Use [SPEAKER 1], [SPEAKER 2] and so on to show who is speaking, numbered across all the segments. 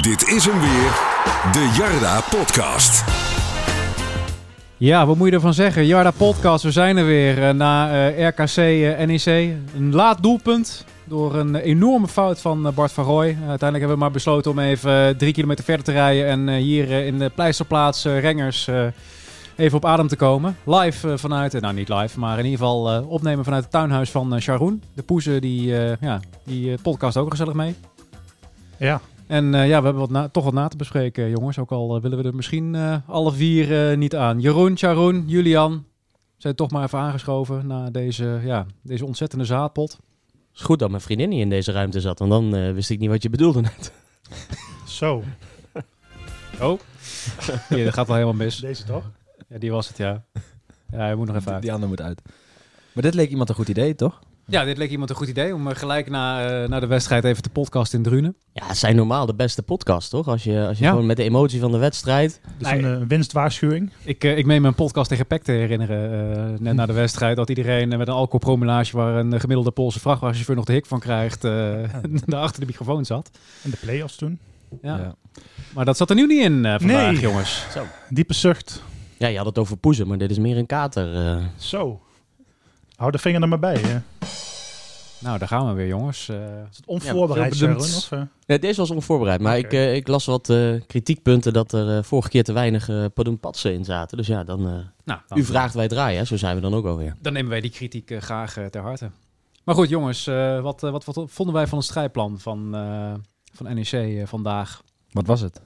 [SPEAKER 1] Dit is hem weer, de Jarda Podcast.
[SPEAKER 2] Ja, wat moet je ervan zeggen? Jarda Podcast, we zijn er weer eh, na eh, RKC eh, NEC. Een laat doelpunt door een enorme fout van eh, Bart van Rooij. Eh, uiteindelijk hebben we maar besloten om even eh, drie kilometer verder te rijden. En eh, hier eh, in de pleisterplaats eh, Rengers eh, even op adem te komen. Live eh, vanuit, eh, nou niet live, maar in ieder geval eh, opnemen vanuit het tuinhuis van eh, Sharoen. De poezen die, eh, ja, die eh, podcast ook gezellig mee.
[SPEAKER 3] Ja,
[SPEAKER 2] En eh, ja, we hebben wat na- toch wat na te bespreken, jongens. Ook al eh, willen we er misschien eh, alle vier eh, niet aan. Jeroen, Sharon, Julian zijn toch maar even aangeschoven na deze, ja, deze ontzettende zaadpot.
[SPEAKER 4] is goed dat mijn vriendin niet in deze ruimte zat, want dan eh, wist ik niet wat je bedoelde net.
[SPEAKER 3] zo.
[SPEAKER 2] Oh, ja, dat gaat wel helemaal mis.
[SPEAKER 3] Deze toch?
[SPEAKER 2] Ja, die was het, ja. Ja, hij moet nog even uit.
[SPEAKER 5] Die andere moet uit. Maar dit leek iemand een goed idee, toch?
[SPEAKER 2] Ja, dit leek iemand een goed idee om eh, gelijk na, eh, na de wedstrijd even te podcast in Drunen.
[SPEAKER 4] Ja, het zijn normaal de beste podcast, toch? Als je, als je
[SPEAKER 2] Ja.
[SPEAKER 4] gewoon met de emotie van de wedstrijd...
[SPEAKER 3] Dus
[SPEAKER 2] Nee.
[SPEAKER 3] een eh, winstwaarschuwing.
[SPEAKER 2] Ik, eh, ik meen mijn podcast tegen Peck te herinneren, eh, net na de wedstrijd, dat iedereen eh, met een alcoholpromillage waar een eh, gemiddelde Poolse vrachtwagenchauffeur nog de hik van krijgt, eh daar achter de microfoon zat.
[SPEAKER 3] En de play-offs toen.
[SPEAKER 2] Ja. Maar dat zat er nu niet in eh, vandaag,
[SPEAKER 3] Nee.
[SPEAKER 2] jongens.
[SPEAKER 4] Zo.
[SPEAKER 3] Diepe zucht.
[SPEAKER 4] Ja, je had het over poezen, maar dit is meer een kater. eh.
[SPEAKER 3] Zo. Hou de vinger er maar bij. Hè.
[SPEAKER 2] Nou, daar gaan we weer, jongens. Eh,
[SPEAKER 3] Is het onvoorbereid,
[SPEAKER 2] heel
[SPEAKER 3] Sharon?
[SPEAKER 2] bedoeld.
[SPEAKER 3] Of, eh?
[SPEAKER 4] Nee, deze was onvoorbereid, maar
[SPEAKER 3] Oké.
[SPEAKER 4] ik, eh, ik las wat eh, kritiekpunten dat er eh, vorige keer te weinig eh padoenpatsen in zaten. Dus ja, dan... eh,
[SPEAKER 2] nou,
[SPEAKER 4] u
[SPEAKER 2] dan,
[SPEAKER 4] vraagt, wij draaien, hè? zo zijn we dan ook alweer.
[SPEAKER 2] dan nemen wij die kritiek eh, graag eh, ter harte. Maar goed, jongens, eh, wat, eh, wat, wat vonden wij van het strijdplan van, eh, van NEC eh, vandaag?
[SPEAKER 5] Wat was het?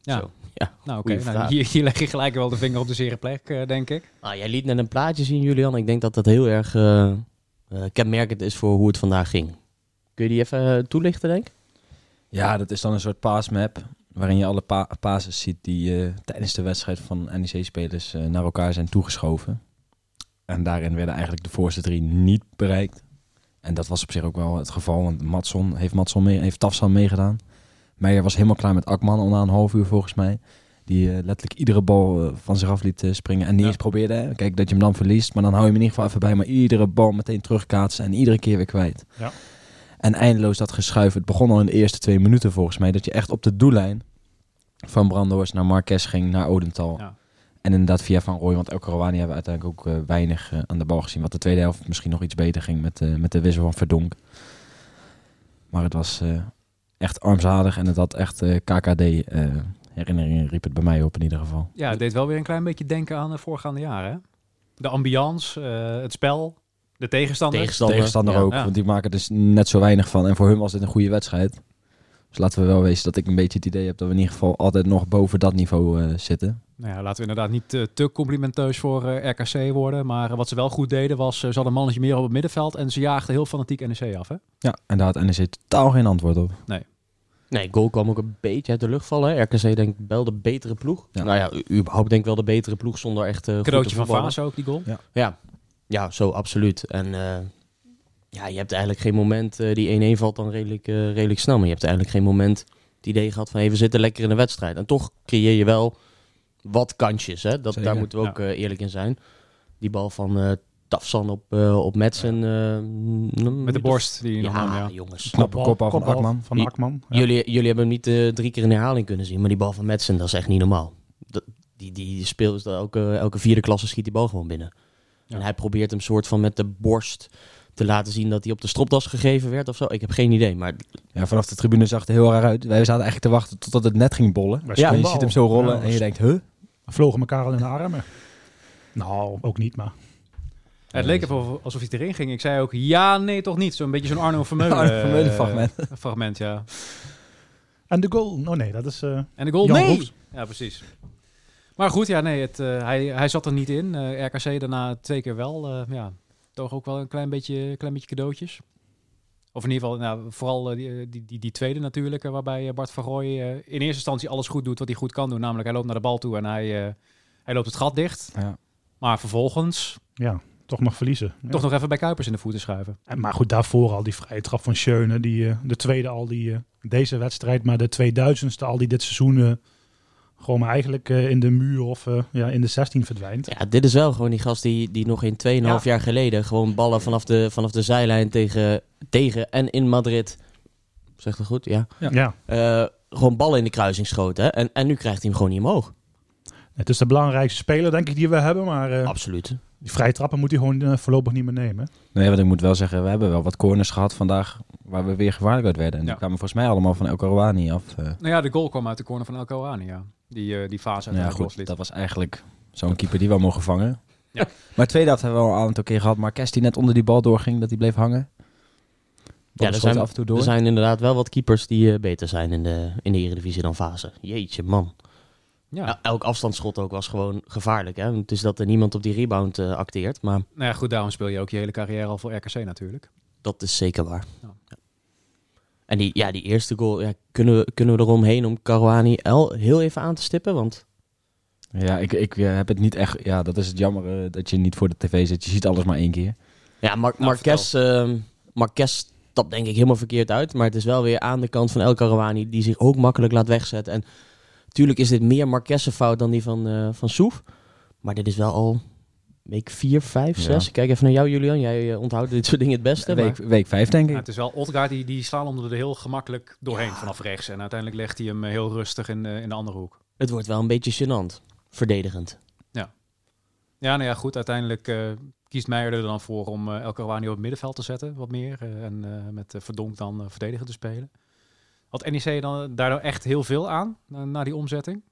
[SPEAKER 2] Ja.
[SPEAKER 4] Zo. Ja.
[SPEAKER 2] Nou, oké.
[SPEAKER 4] Goeie
[SPEAKER 2] nou,
[SPEAKER 4] vraag.
[SPEAKER 2] hier, hier leg je gelijk wel de vinger op de zere plek, eh, denk ik.
[SPEAKER 4] Nou, jij liet net een plaatje zien, Julian. Ik denk dat dat heel erg eh, eh, kenmerkend is voor hoe het vandaag ging. Kun je die even eh, toelichten, denk ik?
[SPEAKER 5] Ja, dat is dan een soort paasmap waarin je alle pa passes ziet die eh, tijdens de wedstrijd van E NEC-spelers eh, naar elkaar zijn toegeschoven. En daarin werden eigenlijk de voorste drie niet bereikt. En dat was op zich ook wel het geval, want Matson heeft, Matson mee, heeft Tafsan meegedaan. Meijer was helemaal klaar met Akman na een half uur volgens mij. Die eh, letterlijk iedere bal eh, van zich af liet eh, springen. En niet
[SPEAKER 2] Ja.
[SPEAKER 5] eens probeerde. Hè. Kijk, dat je hem dan verliest. Maar dan hou je hem in ieder geval even bij. Maar iedere bal meteen terugkaatsen. En iedere keer weer kwijt.
[SPEAKER 3] Ja.
[SPEAKER 5] En eindeloos dat geschuif. Het begon al in de eerste twee minuten volgens mij. Dat je echt op de doellijn van Brandoors naar Marques ging. Naar Odental.
[SPEAKER 2] Ja.
[SPEAKER 5] En inderdaad via Van Rooij. Want El Karouani hebben we uiteindelijk ook eh, weinig eh, aan de bal gezien. Wat de tweede helft misschien nog iets beter ging. Met, eh, met de wissel van Verdonk. Maar het was... eh, echt armzalig en het had echt eh, KKD-herinneringen, riep het bij mij op in ieder geval.
[SPEAKER 2] Ja, het deed wel weer een klein beetje denken aan de voorgaande jaren. hè? De ambiance, eh, het spel, de tegenstander.
[SPEAKER 4] Tegenstander.
[SPEAKER 5] Tegenstander
[SPEAKER 4] eh, Ja.
[SPEAKER 5] ook,
[SPEAKER 2] ja.
[SPEAKER 5] want die maken er dus net zo weinig van. En voor hun was dit een goede wedstrijd. Dus laten we wel wezen dat ik een beetje het idee heb dat we in ieder geval altijd nog boven dat niveau eh, zitten.
[SPEAKER 2] Nou ja, laten we inderdaad niet eh, te complimenteus voor eh, RKC worden. Maar eh, wat ze wel goed deden was, eh, ze hadden een mannetje meer op het middenveld. En ze jaagden heel fanatiek NEC af, hè?
[SPEAKER 5] Ja, en daar had NEC totaal geen antwoord op.
[SPEAKER 4] Nee, goal kwam ook een beetje uit de lucht vallen. hè. RKC denk ik wel de betere ploeg.
[SPEAKER 5] Ja.
[SPEAKER 4] Nou ja, u- überhaupt denk ik wel de betere ploeg zonder echt eh goed te
[SPEAKER 2] Cadeautje van
[SPEAKER 4] voetballen.
[SPEAKER 2] Vaas ook, die goal.
[SPEAKER 4] Ja. ja, zo absoluut. En eh, ja, je hebt eigenlijk geen moment, eh, die 1-1 valt dan redelijk, eh, redelijk snel. Maar je hebt eigenlijk geen moment het idee gehad van even zitten lekker in de wedstrijd. En toch creëer je wel wat kansjes. Hè? Dat,
[SPEAKER 5] Zeker,
[SPEAKER 4] daar moeten we ook eh, eerlijk in zijn. Die bal van eh Tafsan op, eh, op Madsen. eh,
[SPEAKER 2] Met de borst die hij nog nam,
[SPEAKER 4] Mm, Ja,
[SPEAKER 2] ja.
[SPEAKER 4] jongens.
[SPEAKER 5] Knappe
[SPEAKER 3] Bal-
[SPEAKER 5] kopbal van
[SPEAKER 3] kopbal
[SPEAKER 5] Akman.
[SPEAKER 3] Van
[SPEAKER 4] Die-
[SPEAKER 3] Akman. Ja.
[SPEAKER 4] Jullie, jullie hebben hem niet eh, drie keer in herhaling kunnen zien, maar die bal van Madsen, dat is echt niet normaal. Dat, die, die speelt elke, elke vierde klasse schiet die bal gewoon binnen.
[SPEAKER 2] Ja.
[SPEAKER 4] En hij probeert hem soort van met de borst te laten zien dat hij op de stropdas gegeven werd of zo. Ik heb geen idee, maar
[SPEAKER 5] Ja, vanaf de tribune zag het er heel raar uit. Wij zaten eigenlijk te wachten totdat het net ging bollen.
[SPEAKER 3] Wij
[SPEAKER 5] Ja, en je
[SPEAKER 3] stonden
[SPEAKER 5] ziet
[SPEAKER 3] al.
[SPEAKER 5] hem zo rollen
[SPEAKER 3] Ja,
[SPEAKER 5] en je denkt, huh?
[SPEAKER 3] We vlogen elkaar al in de armen. Nou, ook niet, maar...
[SPEAKER 2] Het leek even of- alsof hij erin ging. Ik zei ook, ja, nee, toch niet. Zo'n beetje zo'n Arno Vermeulen,
[SPEAKER 5] Arno Vermeulen
[SPEAKER 2] eh,
[SPEAKER 5] fragment.
[SPEAKER 2] fragment, ja.
[SPEAKER 3] En de goal. Oh nee, dat is... eh,
[SPEAKER 2] En de goal,
[SPEAKER 3] Jan
[SPEAKER 2] nee!
[SPEAKER 3] Roos.
[SPEAKER 2] Ja, precies. Maar goed, ja, nee, het, eh, hij, hij zat er niet in. Eh, RKC daarna twee keer wel. eh, ja, toch ook wel een klein beetje, klein beetje cadeautjes. Of in ieder geval, nou, vooral eh, die, die, die, die tweede natuurlijk, eh, waarbij eh, Bart van Rooij eh, in eerste instantie alles goed doet wat hij goed kan doen. Namelijk, hij loopt naar de bal toe en hij, eh, hij loopt het gat dicht.
[SPEAKER 5] Ja.
[SPEAKER 2] Maar vervolgens
[SPEAKER 3] ja, toch nog verliezen. Ja.
[SPEAKER 2] toch nog even bij Kuipers in de voeten schuiven.
[SPEAKER 3] En, maar goed, daarvoor al die vrije trap van Schöne. Die, eh, de tweede al die eh, deze wedstrijd, maar de 2000ste al die dit seizoen... eh, gewoon maar eigenlijk eh, in de muur of eh, ja, in de 16 verdwijnt.
[SPEAKER 4] ja, dit is wel gewoon die gast die, die nog in 2,5 jaar geleden gewoon ballen vanaf de, vanaf de zijlijn tegen, tegen en in Madrid, zegt dat goed, ja,
[SPEAKER 3] ja.
[SPEAKER 4] Eh, gewoon ballen in de kruising schoten. Hè? En, en nu krijgt hij hem gewoon niet omhoog.
[SPEAKER 3] Het is de belangrijkste speler, denk ik, die we hebben. Maar eh,
[SPEAKER 4] Absoluut.
[SPEAKER 3] die vrije trappen moet hij gewoon eh, voorlopig niet meer nemen.
[SPEAKER 5] Nee, want ik moet wel zeggen, we hebben wel wat corners gehad vandaag waar we weer gevaarlijk uit werden. En
[SPEAKER 2] Ja.
[SPEAKER 5] die kwamen volgens mij allemaal van El Karouani af. eh.
[SPEAKER 2] Nou ja, de goal kwam uit de corner van El Kouani, ja. Die, eh, die fase
[SPEAKER 5] nou ja,
[SPEAKER 2] uiteindelijk
[SPEAKER 5] goed,
[SPEAKER 2] losliet.
[SPEAKER 5] dat was eigenlijk zo'n keeper die wel mogen vangen.
[SPEAKER 2] Ja.
[SPEAKER 5] Maar tweede helft hebben we al een aantal keer gehad. Marques die net onder die bal doorging, dat die bleef hangen.
[SPEAKER 4] Ja,
[SPEAKER 5] Ja,
[SPEAKER 4] er
[SPEAKER 5] dat
[SPEAKER 4] zijn,
[SPEAKER 5] af en toe door.
[SPEAKER 4] er zijn inderdaad wel wat keepers die eh, beter zijn in de, in de Eredivisie dan Fase. Jeetje, man.
[SPEAKER 2] Ja.
[SPEAKER 4] El- Elk afstandsschot ook was gewoon gevaarlijk. Hè? Want het is dat er niemand op die rebound eh, acteert. Maar
[SPEAKER 2] Nou ja, goed, daarom speel je ook je hele carrière al voor RKC natuurlijk.
[SPEAKER 4] dat is zeker waar.
[SPEAKER 2] Ja.
[SPEAKER 4] Ja. En die, ja, die eerste goal, ja, kunnen, we, kunnen we eromheen om Karouani El heel even aan te stippen? Want
[SPEAKER 5] Ja, ik, ik eh, heb het niet echt... Ja, dat is het jammer eh, dat je niet voor de tv zit. Je ziet alles maar één keer.
[SPEAKER 4] ja, Mar Marquez, ehm, Marquez stapt denk ik helemaal verkeerd uit. Maar het is wel weer aan de kant van El Karouani die zich ook makkelijk laat wegzetten. En natuurlijk is dit meer Marquez' fout dan die van, eh van Soef. Maar dit is wel al week 4, 5,
[SPEAKER 5] Ja.
[SPEAKER 4] 6. Ik kijk even naar jou, Julian. Jij eh, onthoudt dit soort dingen het beste. maar-
[SPEAKER 5] Week, week vijf, denk
[SPEAKER 2] Ja,
[SPEAKER 5] ik.
[SPEAKER 2] Nou, het is wel Otgaard, die, die slaan onder de heel gemakkelijk doorheen vanaf rechts. En uiteindelijk legt hij hem eh, heel rustig in, eh, in de andere hoek.
[SPEAKER 4] Het wordt wel een beetje gênant. Verdedigend.
[SPEAKER 2] Ja, nou ja, goed. Uiteindelijk eh, kiest Meijer er dan voor om eh El Karouani op het middenveld te zetten, wat meer. eh, en eh, met eh, Verdonk dan eh, verdediger te spelen. Had NEC dan daardoor echt heel veel aan, na, na die omzetting?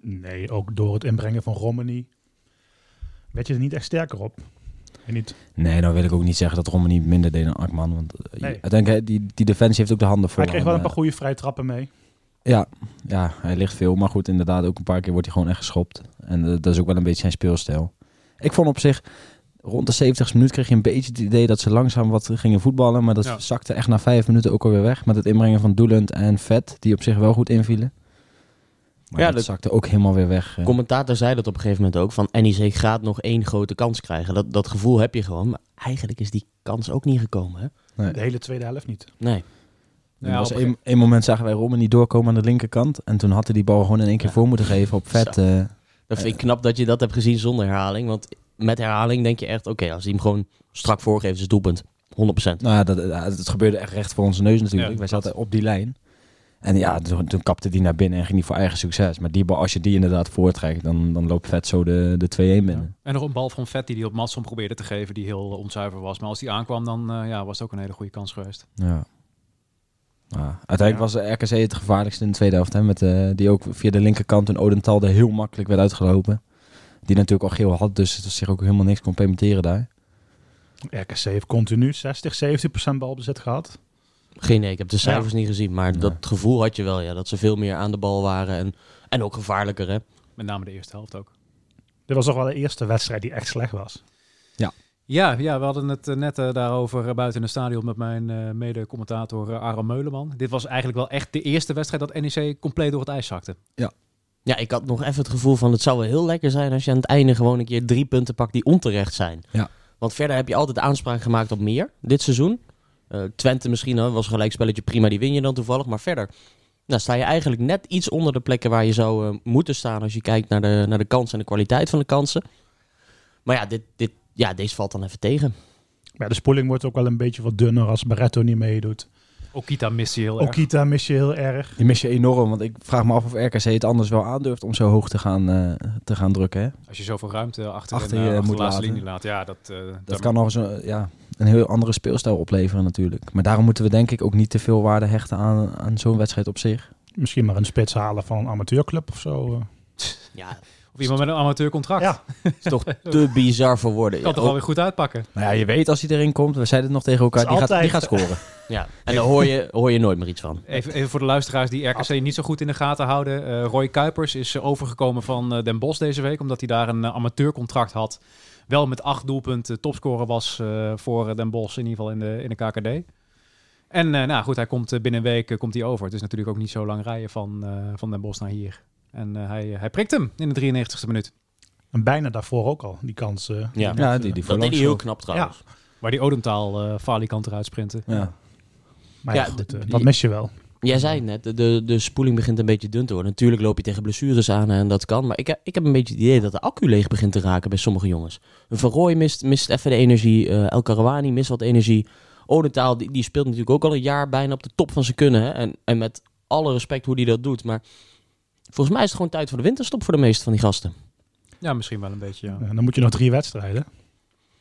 [SPEAKER 3] Nee, ook door het inbrengen van Romani werd je er niet echt sterker op. En niet.
[SPEAKER 5] Nee, nou wil ik ook niet zeggen dat Rommel niet minder deed dan Akman. Want eh,
[SPEAKER 3] Nee.
[SPEAKER 5] uiteindelijk, eh, die, die defensie heeft ook de handen vol.
[SPEAKER 3] Hij kreeg wel een
[SPEAKER 5] aan,
[SPEAKER 3] paar goede vrije trappen mee.
[SPEAKER 5] Ja, ja, hij ligt veel. Maar goed, inderdaad, ook een paar keer wordt hij gewoon echt geschopt. En eh, dat is ook wel een beetje zijn speelstijl. Ik vond op zich, rond de 70 minuut kreeg je een beetje het idee dat ze langzaam wat gingen voetballen. Maar dat
[SPEAKER 2] Ja.
[SPEAKER 5] zakte echt na vijf minuten ook alweer weg. Met het inbrengen van Doelend en Vet, die op zich wel goed invielen. Maar
[SPEAKER 4] Ja,
[SPEAKER 5] dat,
[SPEAKER 4] dat-
[SPEAKER 5] zakte ook helemaal weer weg. eh.
[SPEAKER 4] Commentator zei dat op een gegeven moment ook. Van NEC gaat nog één grote kans krijgen. Dat, dat gevoel heb je gewoon. Maar eigenlijk is die kans ook niet gekomen. Hè?
[SPEAKER 5] Nee.
[SPEAKER 3] De hele tweede helft niet.
[SPEAKER 4] Nee.
[SPEAKER 5] Er
[SPEAKER 2] Ja,
[SPEAKER 5] was
[SPEAKER 2] op
[SPEAKER 5] een, een moment zagen wij Rommen niet doorkomen aan de linkerkant. En toen had hij die bal gewoon in één keer
[SPEAKER 4] Ja.
[SPEAKER 5] voor moeten geven op Vet. eh.
[SPEAKER 4] Dat vind ik knap dat je dat hebt gezien zonder herhaling. Want met herhaling denk je echt... Oké, als hij hem gewoon strak voorgeeft is het doelpunt. 100%.
[SPEAKER 5] Nou ja, dat, ja, het gebeurde echt recht voor onze neus natuurlijk.
[SPEAKER 2] Ja,
[SPEAKER 5] Wij
[SPEAKER 2] dat.
[SPEAKER 5] zaten op die lijn. En ja, toen, toen kapte die naar binnen en ging die voor eigen succes. Maar die bal, als je die inderdaad voortrekt, dan, dan loopt Vet zo de, de 2-1 binnen.
[SPEAKER 2] En nog een bal van Vet die hij op Matson probeerde te geven, die heel eh, onzuiver was. Maar als die aankwam, dan eh, ja, was het ook een hele goede kans geweest.
[SPEAKER 5] Ja. Ja, Uiteindelijk was RKC het gevaarlijkste in de tweede helft. Hè, met, eh, die ook via de linkerkant een Odental er heel makkelijk werd uitgelopen. Die natuurlijk al geel had, dus het was zich ook helemaal niks kon permitteren daar.
[SPEAKER 3] RKC heeft continu 60, 70 procent balbezit gehad.
[SPEAKER 4] Geen nee, ik heb de cijfers niet gezien. Maar
[SPEAKER 5] Nee.
[SPEAKER 4] dat gevoel had je wel. Ja, dat ze veel meer aan de bal waren. En, en ook gevaarlijker. Hè?
[SPEAKER 2] Met name de eerste helft ook.
[SPEAKER 3] Dit was toch wel de eerste wedstrijd die echt slecht was.
[SPEAKER 2] Ja, ja, we hadden het eh, net eh, daarover eh, buiten het stadion met mijn eh, mede-commentator eh, Aram Meuleman. Dit was eigenlijk wel echt de eerste wedstrijd dat NEC compleet door het ijs zakte.
[SPEAKER 4] Ja, ik had nog even het gevoel van... Het zou wel heel lekker zijn als je aan het einde gewoon een keer drie punten pakt die onterecht zijn.
[SPEAKER 5] Ja.
[SPEAKER 4] Want verder heb je altijd aanspraak gemaakt op meer dit seizoen. Eh, Twente misschien hè, was gelijk spelletje prima, die win je dan toevallig. Maar verder nou, sta je eigenlijk net iets onder de plekken waar je zou eh, moeten staan... als je kijkt naar de, naar de kansen en de kwaliteit van de kansen. Maar ja, dit, dit, ja, deze valt dan even tegen.
[SPEAKER 3] Maar ja, de spoeling wordt ook wel een beetje wat dunner als Barretto niet meedoet.
[SPEAKER 2] Okita miste heel erg.
[SPEAKER 3] Okita mis je heel erg.
[SPEAKER 5] Die mis je enorm, want ik vraag me af of RKC het anders wel aandurft om zo hoog te gaan, eh, te gaan drukken. Hè?
[SPEAKER 2] Als je zoveel ruimte achter,
[SPEAKER 5] Achter
[SPEAKER 2] en,
[SPEAKER 5] je
[SPEAKER 2] eh, achter
[SPEAKER 5] moet
[SPEAKER 2] de laatste
[SPEAKER 5] laten.
[SPEAKER 2] linie laat. Ja, dat, eh, daar-
[SPEAKER 5] Dat kan nog eens een, ja, een heel andere speelstijl opleveren natuurlijk. Maar daarom moeten we denk ik ook niet te veel waarde hechten aan, aan zo'n wedstrijd op zich.
[SPEAKER 3] Misschien maar een spits halen van een amateurclub of zo. eh.
[SPEAKER 4] Ja,
[SPEAKER 2] Of iemand met een amateurcontract.
[SPEAKER 3] Ja.
[SPEAKER 4] is toch te bizar voor woorden.
[SPEAKER 2] Kan toch alweer goed uitpakken.
[SPEAKER 5] Nou ja, je weet als hij erin komt, we zeiden het nog tegen elkaar,
[SPEAKER 3] Het is
[SPEAKER 5] die gaat, die
[SPEAKER 3] altijd-
[SPEAKER 5] gaat scoren.
[SPEAKER 4] Ja, en daar hoor je, hoor je nooit meer iets van.
[SPEAKER 2] Even, even voor de luisteraars die RKC niet zo goed in de gaten houden. Eh, Roy Kuipers is eh, overgekomen van eh, Den Bosch deze week, omdat hij daar een eh, amateurcontract had. Wel met acht doelpunten topscorer was eh, voor eh, Den Bosch, in ieder geval in de, in de KKD. En eh, nou goed, hij komt eh, binnen een week eh, komt hij over. Het is natuurlijk ook niet zo lang rijden van, eh, van Den Bosch naar hier. En eh, hij, hij prikt hem in de 93ste minuut.
[SPEAKER 3] En bijna daarvoor ook al, die kans. eh.
[SPEAKER 4] Ja.
[SPEAKER 5] Ja, die, die
[SPEAKER 4] Dat deed
[SPEAKER 5] voorlangs
[SPEAKER 4] hij heel
[SPEAKER 5] wel.
[SPEAKER 4] knap trouwens.
[SPEAKER 2] Waar die Odemtaal eh falikant eruit sprinten.
[SPEAKER 5] Ja.
[SPEAKER 3] Maar ja,
[SPEAKER 4] Ja,
[SPEAKER 3] goed,
[SPEAKER 4] de-
[SPEAKER 3] eh,
[SPEAKER 4] die-
[SPEAKER 3] dat mis je wel.
[SPEAKER 4] Jij zei het net, de- de, de spoeling begint een beetje dun te worden. Natuurlijk loop je tegen blessures aan en dat kan. Maar ik, heb- ik heb een beetje het idee dat de accu leeg begint te raken bij sommige jongens. Een Van Rooij mist, mist even de energie. eh, El Karawani mist wat energie. Odentaal, die, die speelt natuurlijk ook al een jaar bijna op de top van zijn kunnen. Hè? En, en met alle respect hoe hij dat doet. Maar volgens mij is het gewoon tijd voor de winterstop voor de meeste van die gasten.
[SPEAKER 2] Ja, misschien wel een beetje. Ja.
[SPEAKER 3] En dan moet je nog drie wedstrijden.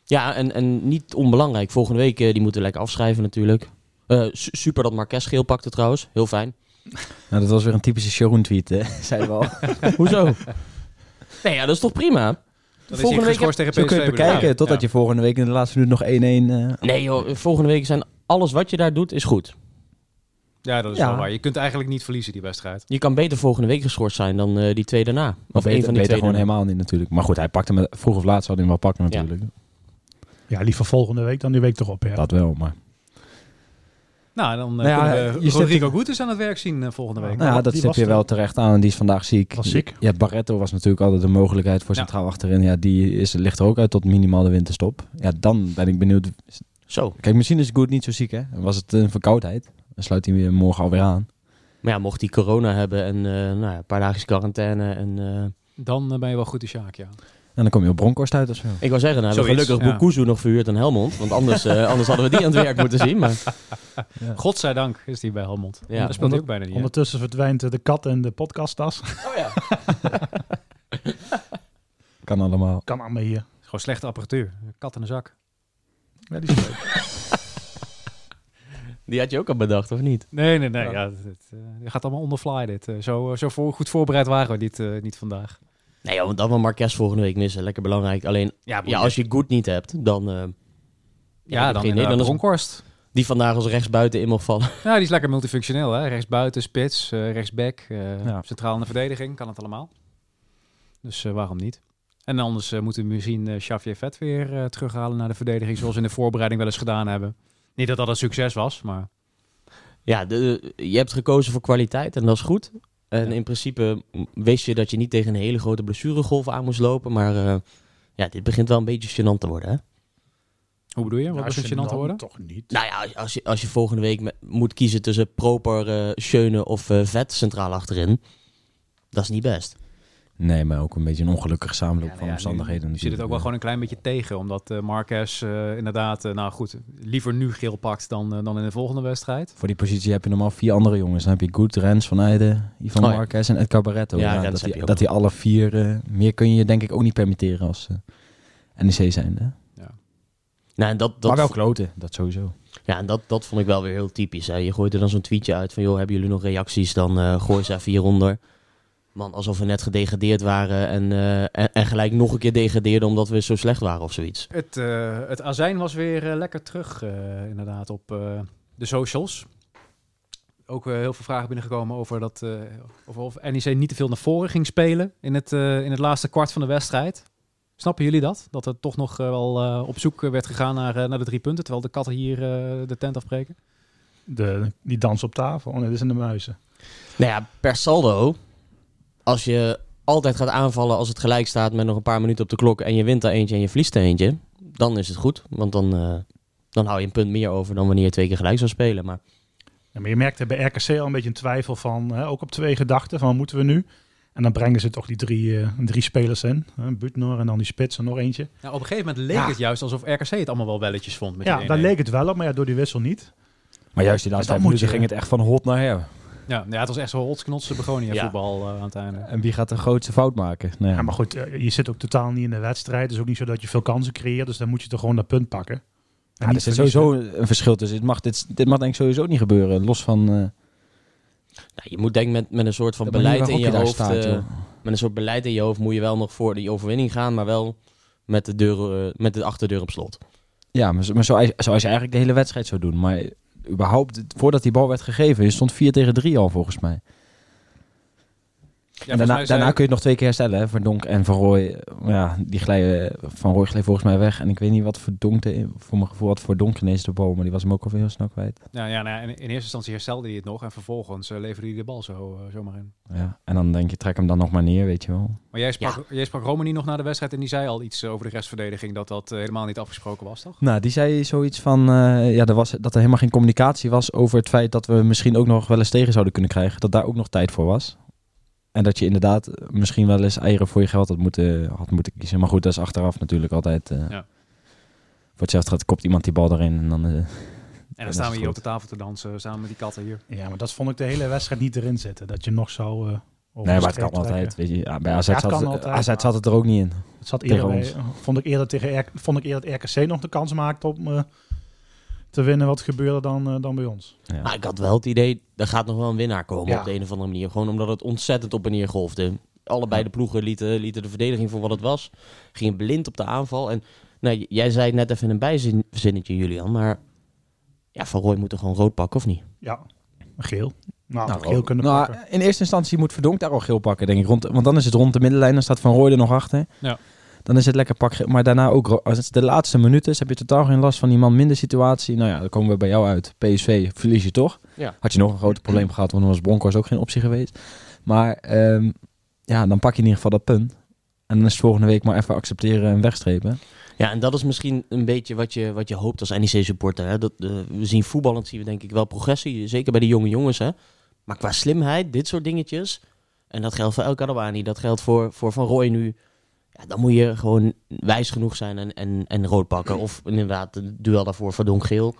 [SPEAKER 4] Ja, en, en niet onbelangrijk. Volgende week, eh, die moeten we lekker afschrijven natuurlijk. Eh, su- super dat Marques geel pakte trouwens. Heel fijn.
[SPEAKER 5] Nou, dat was weer een typische Sharon-tweet, hè? Zeiden we al.
[SPEAKER 4] Hoezo? nee, ja, dat is toch prima?
[SPEAKER 2] Dan is hij
[SPEAKER 4] Volgende week
[SPEAKER 2] geschorst tegen
[SPEAKER 5] Zo kun je het
[SPEAKER 2] PSV.
[SPEAKER 5] bekijken, totdat je volgende week in de laatste minuut nog 1-1... eh,
[SPEAKER 4] Nee joh, volgende week zijn alles wat je daar doet is goed.
[SPEAKER 2] Ja, dat is
[SPEAKER 5] Ja.
[SPEAKER 2] wel waar. Je kunt eigenlijk niet verliezen die wedstrijd.
[SPEAKER 4] Je kan beter volgende week geschorst zijn dan eh, die twee daarna. Of
[SPEAKER 5] beter,
[SPEAKER 4] één van die
[SPEAKER 5] beter
[SPEAKER 4] twee
[SPEAKER 5] gewoon
[SPEAKER 4] daarna.
[SPEAKER 5] helemaal niet natuurlijk. Maar goed, hij pakte hem vroeg of laat zou hij hem wel pakken
[SPEAKER 4] Ja.
[SPEAKER 5] natuurlijk.
[SPEAKER 3] Ja, liever volgende week dan die week erop. Ja.
[SPEAKER 5] Dat wel, maar...
[SPEAKER 2] Nou, dan
[SPEAKER 5] Nou
[SPEAKER 2] eh,
[SPEAKER 5] ja,
[SPEAKER 2] kunnen we
[SPEAKER 5] je stept-
[SPEAKER 2] Rodrigo Goedes aan het werk zien eh, volgende week.
[SPEAKER 5] Nou ja,
[SPEAKER 3] die
[SPEAKER 5] dat zit
[SPEAKER 3] was
[SPEAKER 5] je
[SPEAKER 3] er.
[SPEAKER 5] wel terecht aan. En die is vandaag ziek.
[SPEAKER 3] Was ziek.
[SPEAKER 5] Ja, Barretto was natuurlijk altijd een mogelijkheid voor
[SPEAKER 2] Ja.
[SPEAKER 5] centraal achterin. Ja, die is, ligt er ook uit tot minimaal de winterstop. Ja, dan ben ik benieuwd.
[SPEAKER 4] Zo.
[SPEAKER 5] Kijk, misschien is Good niet zo ziek, hè? Was het een verkoudheid? Dan sluit hij weer morgen alweer aan.
[SPEAKER 4] Maar ja, mocht hij corona hebben en eh, nou ja, een paar dagjes quarantaine. En, eh,
[SPEAKER 2] Dan eh, ben je wel goed in Sjaak, ja.
[SPEAKER 5] En dan kom je op Bronkhorst uit of zo.
[SPEAKER 4] ik wou zeggen, nou, we hebben
[SPEAKER 2] Zoiets,
[SPEAKER 4] gelukkig
[SPEAKER 2] ja.
[SPEAKER 4] Boekuzu nog verhuurd aan Helmond. Want anders, eh, anders hadden we die aan het werk moeten zien. Maar
[SPEAKER 2] Godzijdank is die bij Helmond.
[SPEAKER 4] Ja.
[SPEAKER 2] Ja, dat speelt hij ook bijna niet. hè?
[SPEAKER 3] Ondertussen verdwijnt eh, de kat en de podcasttas.
[SPEAKER 2] Oh
[SPEAKER 5] Kan allemaal.
[SPEAKER 3] Kan allemaal eh, hier.
[SPEAKER 2] Het is Gewoon slechte apparatuur. Kat in de zak.
[SPEAKER 3] Ja, die is leuk.
[SPEAKER 4] die had je ook al bedacht, of niet?
[SPEAKER 2] Nee, nee, nee. Ja. het, het, eh, je gaat allemaal on the fly dit. Eh, zo eh, zo voor, goed voorbereid waren we dit eh, niet vandaag.
[SPEAKER 4] Nee, joh, want dan wil Marques volgende week missen. Lekker belangrijk. Alleen, ja, als je Good niet hebt, dan... eh,
[SPEAKER 2] ja,
[SPEAKER 4] heb
[SPEAKER 2] dan
[SPEAKER 4] je geen
[SPEAKER 2] inderdaad
[SPEAKER 4] Nederlanders-
[SPEAKER 2] Bronkhorst.
[SPEAKER 4] die vandaag als rechtsbuiten in mag vallen.
[SPEAKER 2] Ja, Nou, die is lekker multifunctioneel. Hè? Rechtsbuiten, spits, eh, rechtsback, eh,
[SPEAKER 5] Ja.
[SPEAKER 2] centraal in de verdediging. Kan het allemaal. Dus eh, waarom niet? En anders eh, moeten we misschien eh Xavier Vet weer eh, terughalen naar de verdediging. Zoals we in de voorbereiding wel eens gedaan hebben. Niet dat dat een succes was, maar...
[SPEAKER 4] Ja, de, je hebt gekozen voor kwaliteit en dat is goed. En
[SPEAKER 2] Ja.
[SPEAKER 4] in principe wist je dat je niet tegen een hele grote blessuregolf aan moest lopen. Maar eh, ja, dit begint wel een beetje gênant te worden, hè?
[SPEAKER 2] Hoe bedoel je? Wat
[SPEAKER 3] Nou,
[SPEAKER 2] was het
[SPEAKER 3] dan
[SPEAKER 2] gênant te worden?
[SPEAKER 3] Toch niet.
[SPEAKER 4] Nou ja, als- als je, als je volgende week me- moet kiezen tussen proper, eh Schöne of eh, Vet centraal achterin. Dat is niet best.
[SPEAKER 5] Nee, maar ook een beetje een ongelukkig samenloop
[SPEAKER 2] Ja, nou
[SPEAKER 5] van
[SPEAKER 2] ja,
[SPEAKER 5] omstandigheden.
[SPEAKER 2] Nu zit het
[SPEAKER 5] natuurlijk.
[SPEAKER 2] ook wel gewoon een klein beetje tegen. Omdat eh Marquez eh, inderdaad, eh, nou goed, liever nu geel pakt dan, eh, dan in de volgende wedstrijd.
[SPEAKER 5] Voor die positie heb je normaal vier andere jongens. Dan heb je Good, Rens, Van Eijden, Ivan
[SPEAKER 4] Oh ja.
[SPEAKER 5] Marquez en Edgar Barretto.
[SPEAKER 4] Ja, Rens
[SPEAKER 5] dat,
[SPEAKER 4] heb je
[SPEAKER 5] die,
[SPEAKER 4] ook
[SPEAKER 5] dat die alle vier... eh, meer kun je je denk ik ook niet permitteren als eh NEC zijnde.
[SPEAKER 4] Nou, en dat, dat,
[SPEAKER 5] maar wel kloten, dat sowieso.
[SPEAKER 4] ja, en dat, dat vond ik wel weer heel typisch. Hè. Je gooit er dan zo'n tweetje uit van, joh, hebben jullie nog reacties? Dan eh gooi ze even hieronder. Man, alsof we net gedegradeerd waren en, eh, en, en gelijk nog een keer degradeerden omdat we zo slecht waren of zoiets.
[SPEAKER 2] Het, eh, het azijn was weer eh, lekker terug, eh, inderdaad, op eh, de socials. Ook eh, heel veel vragen binnengekomen over dat, eh, over of NEC niet te veel naar voren ging spelen in het, eh, in het laatste kwart van de wedstrijd. Snappen jullie dat? Dat er toch nog eh, wel eh, op zoek werd gegaan naar, eh, naar de drie punten, terwijl de katten hier eh, de tent afbreken?
[SPEAKER 3] De, die dans op tafel. Oh nee, dit is in de muizen.
[SPEAKER 4] Nou ja, per saldo, als je altijd gaat aanvallen als het gelijk staat met nog een paar minuten op de klok en je wint er eentje en je verliest er eentje, dan is het goed. Want dan, eh, dan hou je een punt meer over dan wanneer je twee keer gelijk zou spelen. Maar
[SPEAKER 3] Ja, maar je merkte bij RKC al een beetje een twijfel van, hè, ook op twee gedachten, van moeten we nu? En dan brengen ze toch die drie, eh, drie spelers in. Hè, Buutner en dan die spits en nog eentje.
[SPEAKER 2] Nou, op een gegeven moment leek
[SPEAKER 3] Ja.
[SPEAKER 2] het juist alsof RKC het allemaal wel welletjes vond. Met
[SPEAKER 3] Ja,
[SPEAKER 2] die
[SPEAKER 3] daar
[SPEAKER 2] 1-1.
[SPEAKER 3] leek het wel op, maar ja, door die wissel niet.
[SPEAKER 5] Maar juist die laatste vijf
[SPEAKER 3] Maar dan
[SPEAKER 5] minuten
[SPEAKER 3] moet
[SPEAKER 5] ging het echt van hot naar her.
[SPEAKER 2] Ja, ja, het was echt zo'n holsknotse begonia
[SPEAKER 4] Ja.
[SPEAKER 2] voetbal eh, aan het einde.
[SPEAKER 5] En wie gaat de grootste fout maken? Nou ja.
[SPEAKER 3] Ja, maar goed, eh, je zit ook totaal niet in de wedstrijd. Het is ook niet zo dat je veel kansen creëert, dus dan moet je toch gewoon dat punt pakken. En
[SPEAKER 5] Ja,
[SPEAKER 3] niet
[SPEAKER 5] er zit
[SPEAKER 4] dus
[SPEAKER 3] verliezen.
[SPEAKER 5] sowieso een verschil tussen. Dit mag, dit, dit mag denk ik sowieso niet gebeuren. Los van eh,
[SPEAKER 4] nou, je moet denk ik met, met een soort van
[SPEAKER 5] de manier
[SPEAKER 4] beleid
[SPEAKER 5] waarop
[SPEAKER 4] in je,
[SPEAKER 5] daar
[SPEAKER 4] hoofd.
[SPEAKER 5] staat,
[SPEAKER 4] eh,
[SPEAKER 5] joh.
[SPEAKER 4] met een soort beleid in je hoofd moet je wel nog voor die overwinning gaan, maar wel met de, deur, eh, met de achterdeur op slot.
[SPEAKER 5] Ja, maar, zo- maar zoals, zoals je eigenlijk de hele wedstrijd zou doen. Maar überhaupt, voordat die bal werd gegeven, je stond 4 tegen 3 al volgens mij. en daarna, daarna kun je het nog twee keer herstellen. Hè? Verdonk en Van Rooij. eh, Ja, die glijden, eh, Van Rooij gleed volgens mij weg. En ik weet niet wat Verdonk, de, voor mijn gevoel had Verdonk ineens de bal. Maar die was hem ook alweer heel snel kwijt.
[SPEAKER 2] ja, ja, nou, ja, in, in eerste instantie herstelde hij het nog en vervolgens eh, leverde hij de bal zo, eh, zomaar in.
[SPEAKER 5] Ja. En dan denk je, trek hem dan nog maar neer, weet je wel.
[SPEAKER 2] Maar jij sprak, jij sprak Romani nog na de wedstrijd en die zei al iets eh, over de restverdediging, dat dat eh, helemaal niet afgesproken was, toch?
[SPEAKER 5] Nou, die zei zoiets van eh, ja, er was, dat er helemaal geen communicatie was over het feit dat we misschien ook nog wel eens tegen zouden kunnen krijgen. Dat daar ook nog tijd voor was. En dat je inderdaad eh, misschien wel eens eieren voor je geld had moeten, had moeten kiezen. Maar goed, dat is achteraf natuurlijk altijd. eh,
[SPEAKER 2] Ja.
[SPEAKER 5] Voor hetzelfde gaat kopt iemand die bal erin en dan eh,
[SPEAKER 2] En
[SPEAKER 5] is
[SPEAKER 2] dan staan
[SPEAKER 5] het
[SPEAKER 2] we hier op
[SPEAKER 5] goed.
[SPEAKER 2] de tafel te dansen eh, samen met die katten hier.
[SPEAKER 3] Ja, maar dat vond ik de hele wedstrijd niet erin zitten. Dat je nog zou... eh, over
[SPEAKER 5] Nee,
[SPEAKER 3] de
[SPEAKER 5] maar het
[SPEAKER 3] streep
[SPEAKER 5] kan altijd.
[SPEAKER 3] trekken.
[SPEAKER 5] Weet je, ja, bij AZ,
[SPEAKER 3] Ja, het
[SPEAKER 5] zat,
[SPEAKER 3] kan
[SPEAKER 5] het-
[SPEAKER 3] altijd,
[SPEAKER 5] AZ
[SPEAKER 3] maar-
[SPEAKER 5] zat het er ook niet in.
[SPEAKER 3] Het zat
[SPEAKER 5] tegen
[SPEAKER 3] eerder bij, vond, ik eerder tegen R- vond ik eerder dat RKC nog de kans maakte om eh, te winnen wat gebeurde dan, eh, dan bij ons.
[SPEAKER 5] Ja.
[SPEAKER 4] Maar ik had wel het idee, er gaat nog wel een winnaar komen
[SPEAKER 3] Ja.
[SPEAKER 4] op de een of andere manier. Gewoon omdat het ontzettend op en neer golfde. Allebei de ploegen lieten, lieten de verdediging voor wat het was. Gingen blind op de aanval. En nou, j- jij zei het net even in een bijzinnetje, Julian. Maar ja, Van Rooij moet er gewoon rood pakken, of niet?
[SPEAKER 3] Ja, geel. Nou,
[SPEAKER 5] Nou,
[SPEAKER 3] geel kunnen
[SPEAKER 5] nou,
[SPEAKER 3] pakken.
[SPEAKER 5] in eerste instantie moet Verdonk daar al geel pakken, denk ik. Rond, want dan is het rond de middenlijn, dan staat Van Rooij er nog achter.
[SPEAKER 2] Ja.
[SPEAKER 5] Dan is het lekker pak. Maar daarna ook, ro- als het de laatste minuten is, heb je totaal geen last van die man minder situatie. Nou ja, dan komen we bij jou uit. PSV verlies je toch.
[SPEAKER 4] Ja.
[SPEAKER 5] Had je nog een groot probleem gehad, want dan was Broncos ook geen optie geweest. Maar ehm, ja, dan pak je in ieder geval dat punt. En dan is het volgende week maar even accepteren en wegstrepen.
[SPEAKER 4] Ja, en dat is misschien een beetje wat je, wat je hoopt als NEC-supporter. Dat eh, we zien voetballend, zien we denk ik wel progressie. Zeker bij de jonge jongens, hè. Maar qua slimheid, dit soort dingetjes... En dat geldt voor El Karawani, dat geldt voor, voor Van Rooij nu. Ja, dan moet je gewoon wijs genoeg zijn en, en, en rood pakken. Of inderdaad, een duel daarvoor voor Don Geel.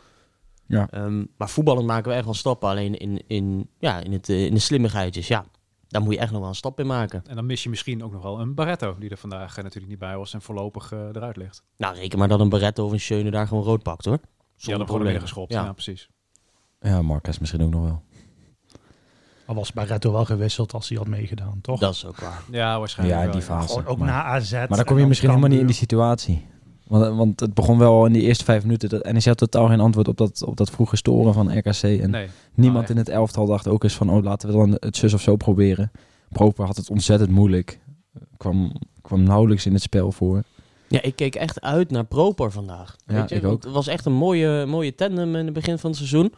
[SPEAKER 5] Ja.
[SPEAKER 4] Ehm, maar voetballend maken we echt wel stappen. Alleen in, in, ja, in, het, eh, in de slimmigheidjes, ja. Daar moet je echt nog wel een stap in maken.
[SPEAKER 2] En dan mis je misschien ook nog wel een Barretto, die er vandaag eh, natuurlijk niet bij was en voorlopig eh, eruit ligt.
[SPEAKER 4] Nou, reken maar dat een Barretto of een Schöne daar gewoon rood pakt, hoor.
[SPEAKER 2] Die hadden gewoon weer geschopt. Ja,
[SPEAKER 4] Ja.
[SPEAKER 2] precies.
[SPEAKER 5] Ja, Marcus misschien ook nog wel.
[SPEAKER 3] Al was Barretto wel gewisseld als hij had meegedaan, toch?
[SPEAKER 4] Dat is ook waar.
[SPEAKER 2] Ja, waarschijnlijk
[SPEAKER 5] ja,
[SPEAKER 2] wel,
[SPEAKER 5] die
[SPEAKER 2] ja.
[SPEAKER 5] fase.
[SPEAKER 3] Gewoon ook
[SPEAKER 5] Maar-
[SPEAKER 3] na AZ.
[SPEAKER 5] Maar dan
[SPEAKER 3] en
[SPEAKER 5] kom je misschien helemaal niet in die
[SPEAKER 3] Cambuur.
[SPEAKER 5] situatie. Want, want het begon wel in die eerste vijf minuten. Dat, en hij had totaal geen antwoord op dat, op dat vroege storen van RKC. En
[SPEAKER 2] Nee. Ah,
[SPEAKER 5] niemand
[SPEAKER 2] echt.
[SPEAKER 5] in het elftal dacht ook eens van... oh, laten we dan het zus of zo proberen. Proper had het ontzettend moeilijk. Kwam, kwam nauwelijks in het spel voor.
[SPEAKER 4] Ja, ik keek echt uit naar Proper vandaag.
[SPEAKER 5] Ja,
[SPEAKER 4] weet je?
[SPEAKER 5] ik
[SPEAKER 4] Want
[SPEAKER 5] ook.
[SPEAKER 4] Het was echt een mooie, mooie tandem in het begin van het seizoen.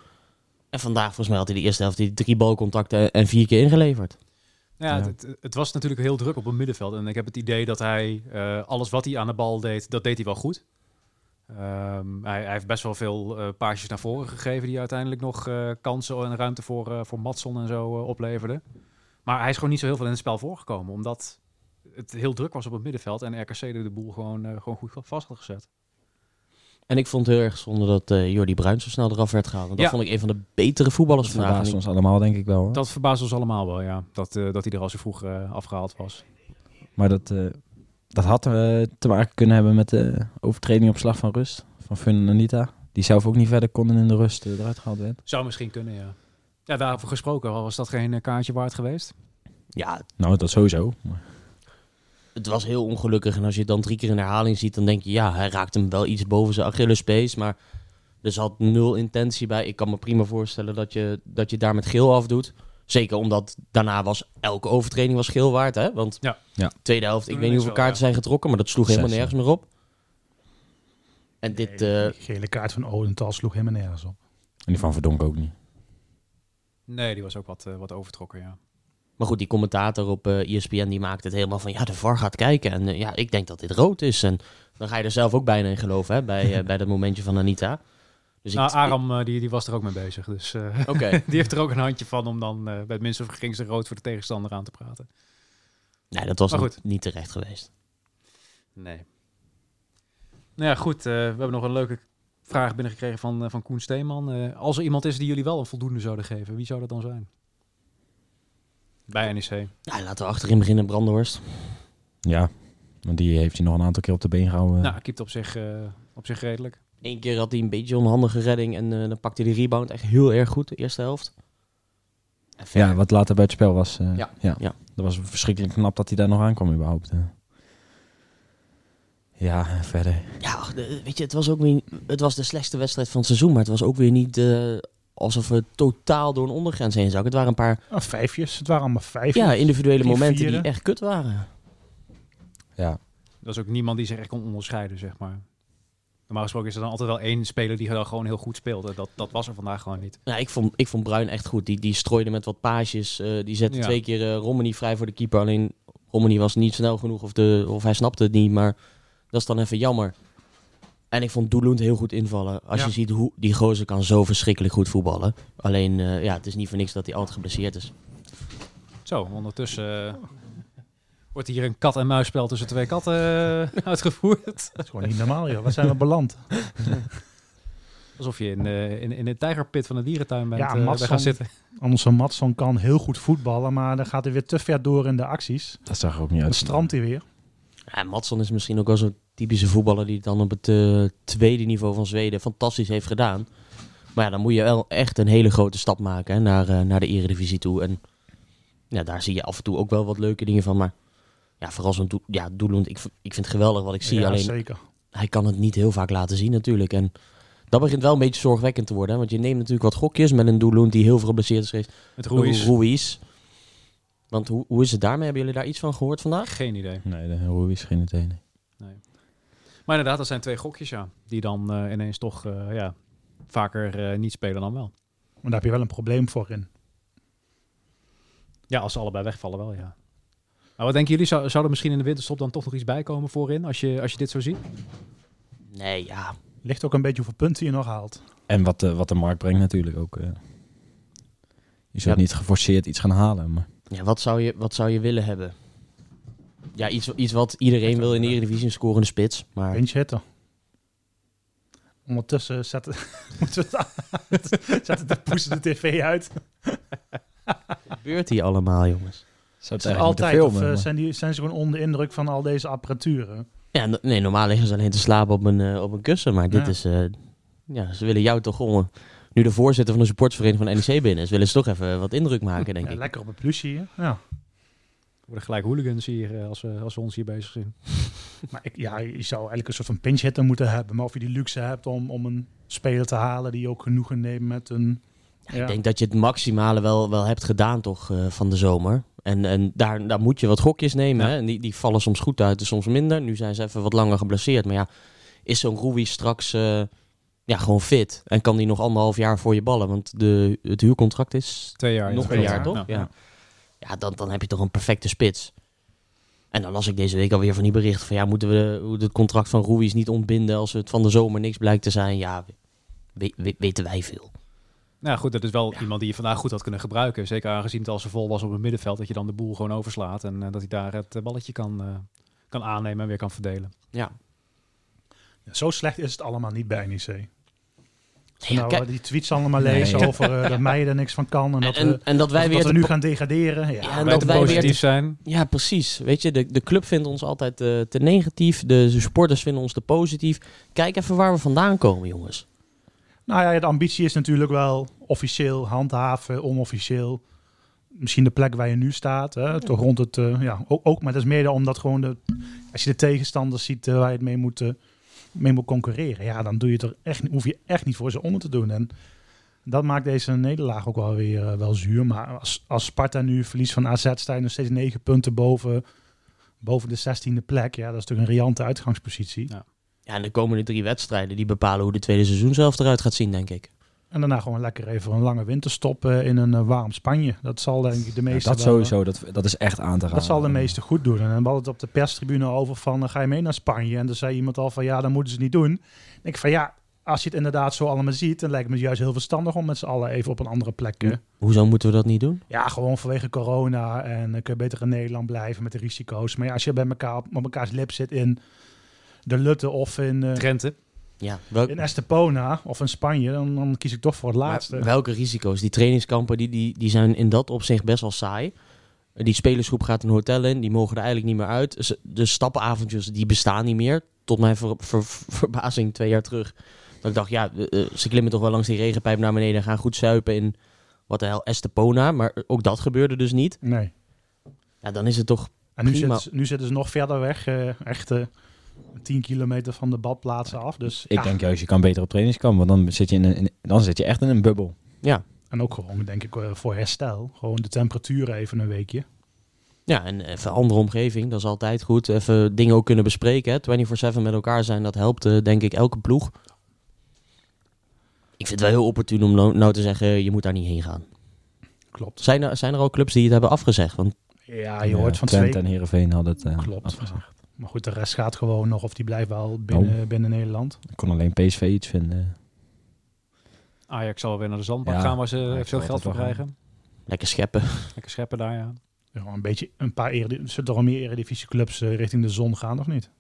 [SPEAKER 4] En vandaag volgens mij had hij de eerste helft die drie balcontacten en vier keer ingeleverd.
[SPEAKER 2] Ja,
[SPEAKER 5] Ja.
[SPEAKER 2] Het, het- het was natuurlijk heel druk op het middenveld. En ik heb het idee dat hij eh, alles wat hij aan de bal deed, dat deed hij wel goed. Ehm, hij, hij heeft best wel veel eh paasjes naar voren gegeven die uiteindelijk nog eh, kansen en ruimte voor, eh voor Matson en zo eh, opleverden. Maar hij is gewoon niet zo heel veel in het spel voorgekomen, omdat het heel druk was op het middenveld en RKC de boel gewoon, eh, gewoon goed vast had gezet.
[SPEAKER 4] En ik vond het heel erg zonde dat eh, Jordi Bruin zo snel eraf werd gehaald. Want
[SPEAKER 2] Ja.
[SPEAKER 4] dat vond ik een van de betere voetballers
[SPEAKER 5] Dat
[SPEAKER 4] vandaag.
[SPEAKER 5] verbaast
[SPEAKER 4] En ik-
[SPEAKER 5] ons allemaal, denk ik wel. hoor.
[SPEAKER 2] Dat verbaast ons allemaal wel, ja. Dat, eh, dat hij er al zo vroeg eh, afgehaald was.
[SPEAKER 5] Maar dat, eh, dat had eh, te maken kunnen hebben met de overtreding op slag van rust. Van Fun en Anita. Die zelf ook niet verder konden in de rust eh, eruit gehaald werd.
[SPEAKER 2] Zou misschien kunnen, ja. Ja, daarover gesproken, was dat geen eh, kaartje waard geweest?
[SPEAKER 4] Ja,
[SPEAKER 5] Nou, dat sowieso. Maar-
[SPEAKER 4] het was heel ongelukkig. En als je het dan drie keer in herhaling ziet, dan denk je... ja, hij raakt hem wel iets boven zijn Achillespees. Maar er zat nul intentie bij. Ik kan me prima voorstellen dat je, dat je daar met geel afdoet. Zeker omdat daarna was elke overtreding was geel waard. Hè? Want
[SPEAKER 2] Ja.
[SPEAKER 5] Ja.
[SPEAKER 4] tweede helft, ik
[SPEAKER 2] Toen
[SPEAKER 4] weet niet
[SPEAKER 2] is
[SPEAKER 4] hoeveel
[SPEAKER 2] wel,
[SPEAKER 4] kaarten zijn getrokken... maar dat sloeg
[SPEAKER 5] Zes,
[SPEAKER 4] helemaal nergens meer op. En dit...
[SPEAKER 3] Nee,
[SPEAKER 4] eh,
[SPEAKER 3] die gele kaart van Odental sloeg helemaal nergens op.
[SPEAKER 5] En die van Verdonk ook niet.
[SPEAKER 2] Nee, die was ook wat, eh, wat overtrokken, ja.
[SPEAKER 4] maar goed, die commentator op eh ESPN die maakt het helemaal van... ja, de VAR gaat kijken en eh, ja, ik denk dat dit rood is. En dan ga je er zelf ook bijna in geloven hè, bij, eh, bij dat momentje van Anita. Dus ik-
[SPEAKER 2] nou, Aram eh, die, die was er ook mee bezig. Dus eh,
[SPEAKER 4] Oké.
[SPEAKER 2] die heeft er ook een handje van om dan eh, bij het minste verging ze rood voor de tegenstander aan te praten.
[SPEAKER 4] Nee, dat was
[SPEAKER 2] Maar goed.
[SPEAKER 4] niet- niet terecht geweest.
[SPEAKER 2] Nee. Nou ja, goed. eh, we hebben nog een leuke vraag binnengekregen van, eh, van Koen Steeman. Eh, als er iemand is die jullie wel een voldoende zouden geven, wie zou dat dan zijn? Bij E NEC.
[SPEAKER 4] Nou, laten we achterin beginnen, Brandenhorst.
[SPEAKER 5] Ja, want die heeft hij nog een aantal keer op de been gehouden.
[SPEAKER 2] Nou, keept op zich, eh, op zich redelijk.
[SPEAKER 4] Eén keer had hij een beetje onhandige redding en eh, dan pakte hij de rebound echt heel erg goed, de eerste helft. En verder-
[SPEAKER 5] ja, wat later bij het spel was. eh,
[SPEAKER 4] Ja,
[SPEAKER 5] ja.
[SPEAKER 4] ja.
[SPEAKER 5] Dat was verschrikkelijk knap dat hij daar nog aankwam überhaupt. hè. Ja, en verder.
[SPEAKER 4] Ja, ach, de- weet je, het was ook weer, het was de slechtste wedstrijd van het seizoen, maar het was ook weer niet eh, alsof we totaal door een ondergrens heen zakken. Het waren een paar
[SPEAKER 3] Ah, vijfjes, het waren allemaal vijfjes.
[SPEAKER 4] ja, individuele
[SPEAKER 3] Drie
[SPEAKER 4] momenten
[SPEAKER 3] vieren.
[SPEAKER 4] die echt kut waren.
[SPEAKER 5] Ja,
[SPEAKER 2] Dat is ook niemand die zich echt kon onderscheiden, zeg maar. Normaal gesproken is er dan altijd wel één speler die dan gewoon heel goed speelde. Dat, dat was er vandaag gewoon niet.
[SPEAKER 4] Ja, Nou, ik, vond, ik vond Bruin echt goed. Die, die strooide met wat paasjes. eh, die zette
[SPEAKER 2] Ja.
[SPEAKER 4] twee keer eh Romani vrij voor de keeper. Alleen Romani was niet snel genoeg of, de, of hij snapte het niet. Maar dat is dan even jammer. En ik vond Doelund heel goed invallen. Als
[SPEAKER 2] Ja.
[SPEAKER 4] je ziet hoe die gozer kan zo verschrikkelijk goed voetballen. Alleen eh, ja, het is niet voor niks dat hij altijd geblesseerd is.
[SPEAKER 2] Zo, ondertussen eh, wordt hier een kat- en muisspel tussen twee katten eh, uitgevoerd.
[SPEAKER 3] Dat is gewoon niet normaal, joh. Wat zijn we beland?
[SPEAKER 2] Alsof je in, eh, in, in de tijgerpit van de dierentuin bent
[SPEAKER 3] Ja,
[SPEAKER 2] eh, bij
[SPEAKER 3] Matson.
[SPEAKER 2] gaan zitten.
[SPEAKER 3] Anders dan Matson kan heel goed voetballen, maar dan gaat hij weer te ver door in de acties.
[SPEAKER 5] Dat zag er ook niet
[SPEAKER 3] Dan
[SPEAKER 5] uit.
[SPEAKER 3] strandt hij weer.
[SPEAKER 4] Ja, Matson is misschien ook wel zo'n typische voetballer die het dan op het eh, tweede niveau van Zweden fantastisch heeft gedaan. Maar ja, dan moet je wel echt een hele grote stap maken hè, naar, eh, naar de eredivisie toe. En ja, daar zie je af en toe ook wel wat leuke dingen van. Maar ja, vooral zo'n doel, ja, doelend. Ik, v- ik vind het geweldig wat ik zie.
[SPEAKER 3] ja,
[SPEAKER 4] alleen
[SPEAKER 3] zeker.
[SPEAKER 4] hij kan het niet heel vaak laten zien natuurlijk. En dat begint wel een beetje zorgwekkend te worden. Hè, want je neemt natuurlijk wat gokjes met een doelend die heel veel geblesseerd is geweest.
[SPEAKER 2] Met roeis.
[SPEAKER 4] Ruiz. Want hoe, hoe is het daarmee? Hebben jullie daar iets van gehoord vandaag?
[SPEAKER 2] Geen idee.
[SPEAKER 5] Nee, de Ruiz geen het ene.
[SPEAKER 2] Maar inderdaad, dat zijn twee gokjes, ja. Die dan eh, ineens toch eh, ja, vaker eh, niet spelen dan wel.
[SPEAKER 3] Maar daar heb je wel een probleem voor in.
[SPEAKER 2] Ja, als ze allebei wegvallen wel, ja. Maar wat denken jullie? Zou, zou er misschien in de winterstop dan toch nog iets bij komen voorin? Als je, als je dit zo ziet?
[SPEAKER 4] Nee, ja.
[SPEAKER 3] Ligt ook een beetje hoeveel punten je nog haalt.
[SPEAKER 5] En wat de, wat de markt brengt natuurlijk ook. eh. je zult
[SPEAKER 4] Ja.
[SPEAKER 5] niet geforceerd iets gaan halen. Maar
[SPEAKER 4] Ja, wat zou je, wat zou je willen hebben? Ja, iets, iets wat iedereen wil in de Eredivisie, een scorende spits. Maar
[SPEAKER 3] Pinch hitter. Ondertussen zetten, ondertussen zetten de poes de tv uit.
[SPEAKER 4] gebeurt hier allemaal, jongens?
[SPEAKER 5] zou het
[SPEAKER 3] Is Altijd. of eh, zijn, die, zijn ze gewoon onder de indruk van al deze apparatuur?
[SPEAKER 4] Ja, no- nee, normaal liggen ze alleen te slapen op een, eh, op een kussen. Maar dit
[SPEAKER 3] Ja.
[SPEAKER 4] is... eh, ja, ze willen jou toch gewoon... Nu de voorzitter van de supportsvereniging van NEC binnen is, willen ze toch even wat indruk maken, denk
[SPEAKER 3] Ja,
[SPEAKER 4] ik.
[SPEAKER 3] lekker op een plusje hier. Ja.
[SPEAKER 2] Er worden gelijk hooligans hier eh, als, we, als we ons hier bezig zien.
[SPEAKER 3] Maar ik, ja, je zou eigenlijk een soort van pinch hitter moeten hebben. Maar of je die luxe hebt om, om een speler te halen die ook genoegen neemt met een... Ja.
[SPEAKER 4] Ik denk dat je het maximale wel, wel hebt gedaan toch eh, van de zomer. En, en daar, daar moet je wat gokjes nemen.
[SPEAKER 2] Ja.
[SPEAKER 4] Hè? En die, die vallen soms goed uit en soms minder. Nu zijn ze even wat langer geblesseerd. Maar ja, is zo'n Rui straks eh, ja, gewoon fit? En kan die nog anderhalf jaar voor je ballen? Want de, het huurcontract is
[SPEAKER 2] Twee jaar.
[SPEAKER 4] nog
[SPEAKER 2] ja.
[SPEAKER 4] een
[SPEAKER 3] twee
[SPEAKER 4] jaar,
[SPEAKER 3] jaar,
[SPEAKER 4] toch?
[SPEAKER 2] ja.
[SPEAKER 4] Ja, ja. dan, dan heb je toch een perfecte spits. En dan las ik deze week alweer van die berichten van... ja, moeten we het contract van Ruiz niet ontbinden... als het van de zomer niks blijkt te zijn? Ja, we- we- weten wij veel.
[SPEAKER 2] Nou goed, dat is wel iemand die je vandaag goed had kunnen gebruiken. Zeker aangezien het al zo vol was op het middenveld. Dat je dan de boel gewoon overslaat. En eh, dat hij daar het eh, balletje kan, eh, kan aannemen en weer kan verdelen.
[SPEAKER 4] Ja.
[SPEAKER 3] Zo slecht is het allemaal niet bij E NEC. Als we
[SPEAKER 4] Ja,
[SPEAKER 3] nou
[SPEAKER 4] kijk-
[SPEAKER 3] eh, die tweets allemaal
[SPEAKER 5] Nee.
[SPEAKER 3] lezen over eh, dat mij er niks van kan. En dat,
[SPEAKER 4] en,
[SPEAKER 3] we,
[SPEAKER 4] en dat wij
[SPEAKER 3] dat
[SPEAKER 4] weer
[SPEAKER 3] we
[SPEAKER 4] te
[SPEAKER 3] nu
[SPEAKER 4] po-
[SPEAKER 3] gaan degraderen. Ja,
[SPEAKER 4] Ja,
[SPEAKER 3] maar
[SPEAKER 4] en dat
[SPEAKER 3] de
[SPEAKER 4] wij weer
[SPEAKER 3] positieve-
[SPEAKER 2] Positief zijn.
[SPEAKER 4] Ja, precies. Weet je, de, de club vindt ons altijd eh, te negatief. De supporters vinden ons te positief. Kijk even waar we vandaan komen, jongens.
[SPEAKER 3] Nou ja, de ambitie is natuurlijk wel officieel handhaven, onofficieel. Misschien de plek waar je nu staat. Hè? Toch rond het, eh, ja, ook, ook. Maar dat is meer dan omdat gewoon de, als je de tegenstanders ziet eh, waar je het mee moet, eh, mee moet concurreren. Ja, dan doe je het er echt, niet- hoef je echt niet voor ze onder te doen. En dat maakt deze nederlaag ook wel weer eh, wel zuur. Maar als, als Sparta nu verliest van AZ, sta je nog steeds negen punten boven, boven de zestiende plek. Ja, dat is natuurlijk een riante uitgangspositie.
[SPEAKER 4] Ja, en de komende drie wedstrijden die bepalen hoe de tweede seizoen zelf eruit gaat zien, denk ik.
[SPEAKER 3] En daarna gewoon lekker even een lange winter stoppen in een eh, warm Spanje. Dat zal denk ik de meeste
[SPEAKER 5] dat
[SPEAKER 3] wel, eh,
[SPEAKER 5] sowieso, eh. dat, dat is echt aan te raden.
[SPEAKER 3] Dat zal de meeste goed doen. En we hadden het op de perstribune over van, dan ga je mee naar Spanje? En dan zei iemand al van, ja, dan moeten ze het niet doen. En ik van, ja, als je het inderdaad zo allemaal ziet, dan lijkt het me juist heel verstandig om met z'n allen even op een andere plek. eh,
[SPEAKER 4] Hoezo moeten we dat niet doen?
[SPEAKER 3] Ja, gewoon vanwege corona en dan kun je beter in Nederland blijven met de risico's. Maar ja, als je bij elkaar op, op elkaars lip zit in de Lutte of in, eh,
[SPEAKER 2] Drenthe.
[SPEAKER 4] Ja, welk-
[SPEAKER 3] in Estepona of in Spanje, dan, dan kies ik toch voor het laatste.
[SPEAKER 4] maar welke risico's? Die trainingskampen die, die, die zijn in dat opzicht best wel saai. Die spelersgroep gaat een hotel in, die mogen er eigenlijk niet meer uit. Ze- De stappenavondjes die bestaan niet meer. Tot mijn ver- ver- verbazing twee jaar terug. Dat ik dacht, ja, eh, eh, ze klimmen toch wel langs die regenpijp naar beneden en gaan goed zuipen in wat de hel Estepona. Maar ook dat gebeurde dus niet.
[SPEAKER 3] nee.
[SPEAKER 4] Ja, dan is het toch.
[SPEAKER 3] En nu
[SPEAKER 4] Prima.
[SPEAKER 3] zitten, ze, nu zitten ze nog verder weg, eh, echt eh 10 kilometer van de badplaatsen af. Dus
[SPEAKER 5] Ik
[SPEAKER 3] ja,
[SPEAKER 5] denk juist, je kan beter op trainingskamp, want dan zit je, in een, in- dan zit je echt in een bubbel.
[SPEAKER 4] Ja,
[SPEAKER 3] En ook gewoon, denk ik, eh, voor herstel. Gewoon de temperatuur even een weekje.
[SPEAKER 4] ja en even een andere omgeving, dat is altijd goed. Even dingen ook kunnen bespreken. hè. 24-7 met elkaar zijn, dat helpt eh, denk ik elke ploeg. Ik vind het wel heel opportun om nou, nou te zeggen, je moet daar niet heen gaan.
[SPEAKER 3] Klopt.
[SPEAKER 4] Zijn er, zijn er al clubs die het hebben afgezegd? Want
[SPEAKER 3] Ja, je hoort van
[SPEAKER 5] Eh, Twente
[SPEAKER 3] twee.
[SPEAKER 5] en Heerenveen hadden het eh,
[SPEAKER 3] Klopt.
[SPEAKER 5] afgezegd.
[SPEAKER 3] Maar goed, de rest gaat gewoon nog, of die blijft wel binnen,
[SPEAKER 5] Oh.
[SPEAKER 3] binnen Nederland.
[SPEAKER 5] Ik kon alleen PSV iets vinden.
[SPEAKER 2] Ajax zal weer naar de zandbak
[SPEAKER 5] Ja,
[SPEAKER 2] gaan waar ze
[SPEAKER 5] Ajax
[SPEAKER 2] veel
[SPEAKER 5] zal
[SPEAKER 2] geld voor
[SPEAKER 5] altijd wel gaan.
[SPEAKER 2] krijgen.
[SPEAKER 4] lekker scheppen.
[SPEAKER 2] Lekker scheppen daar, ja.
[SPEAKER 3] Ja, een beetje, een paar eredivisie, zullen er al meer eredivisieclubs eh, richting de zon gaan, of niet?
[SPEAKER 5] Dat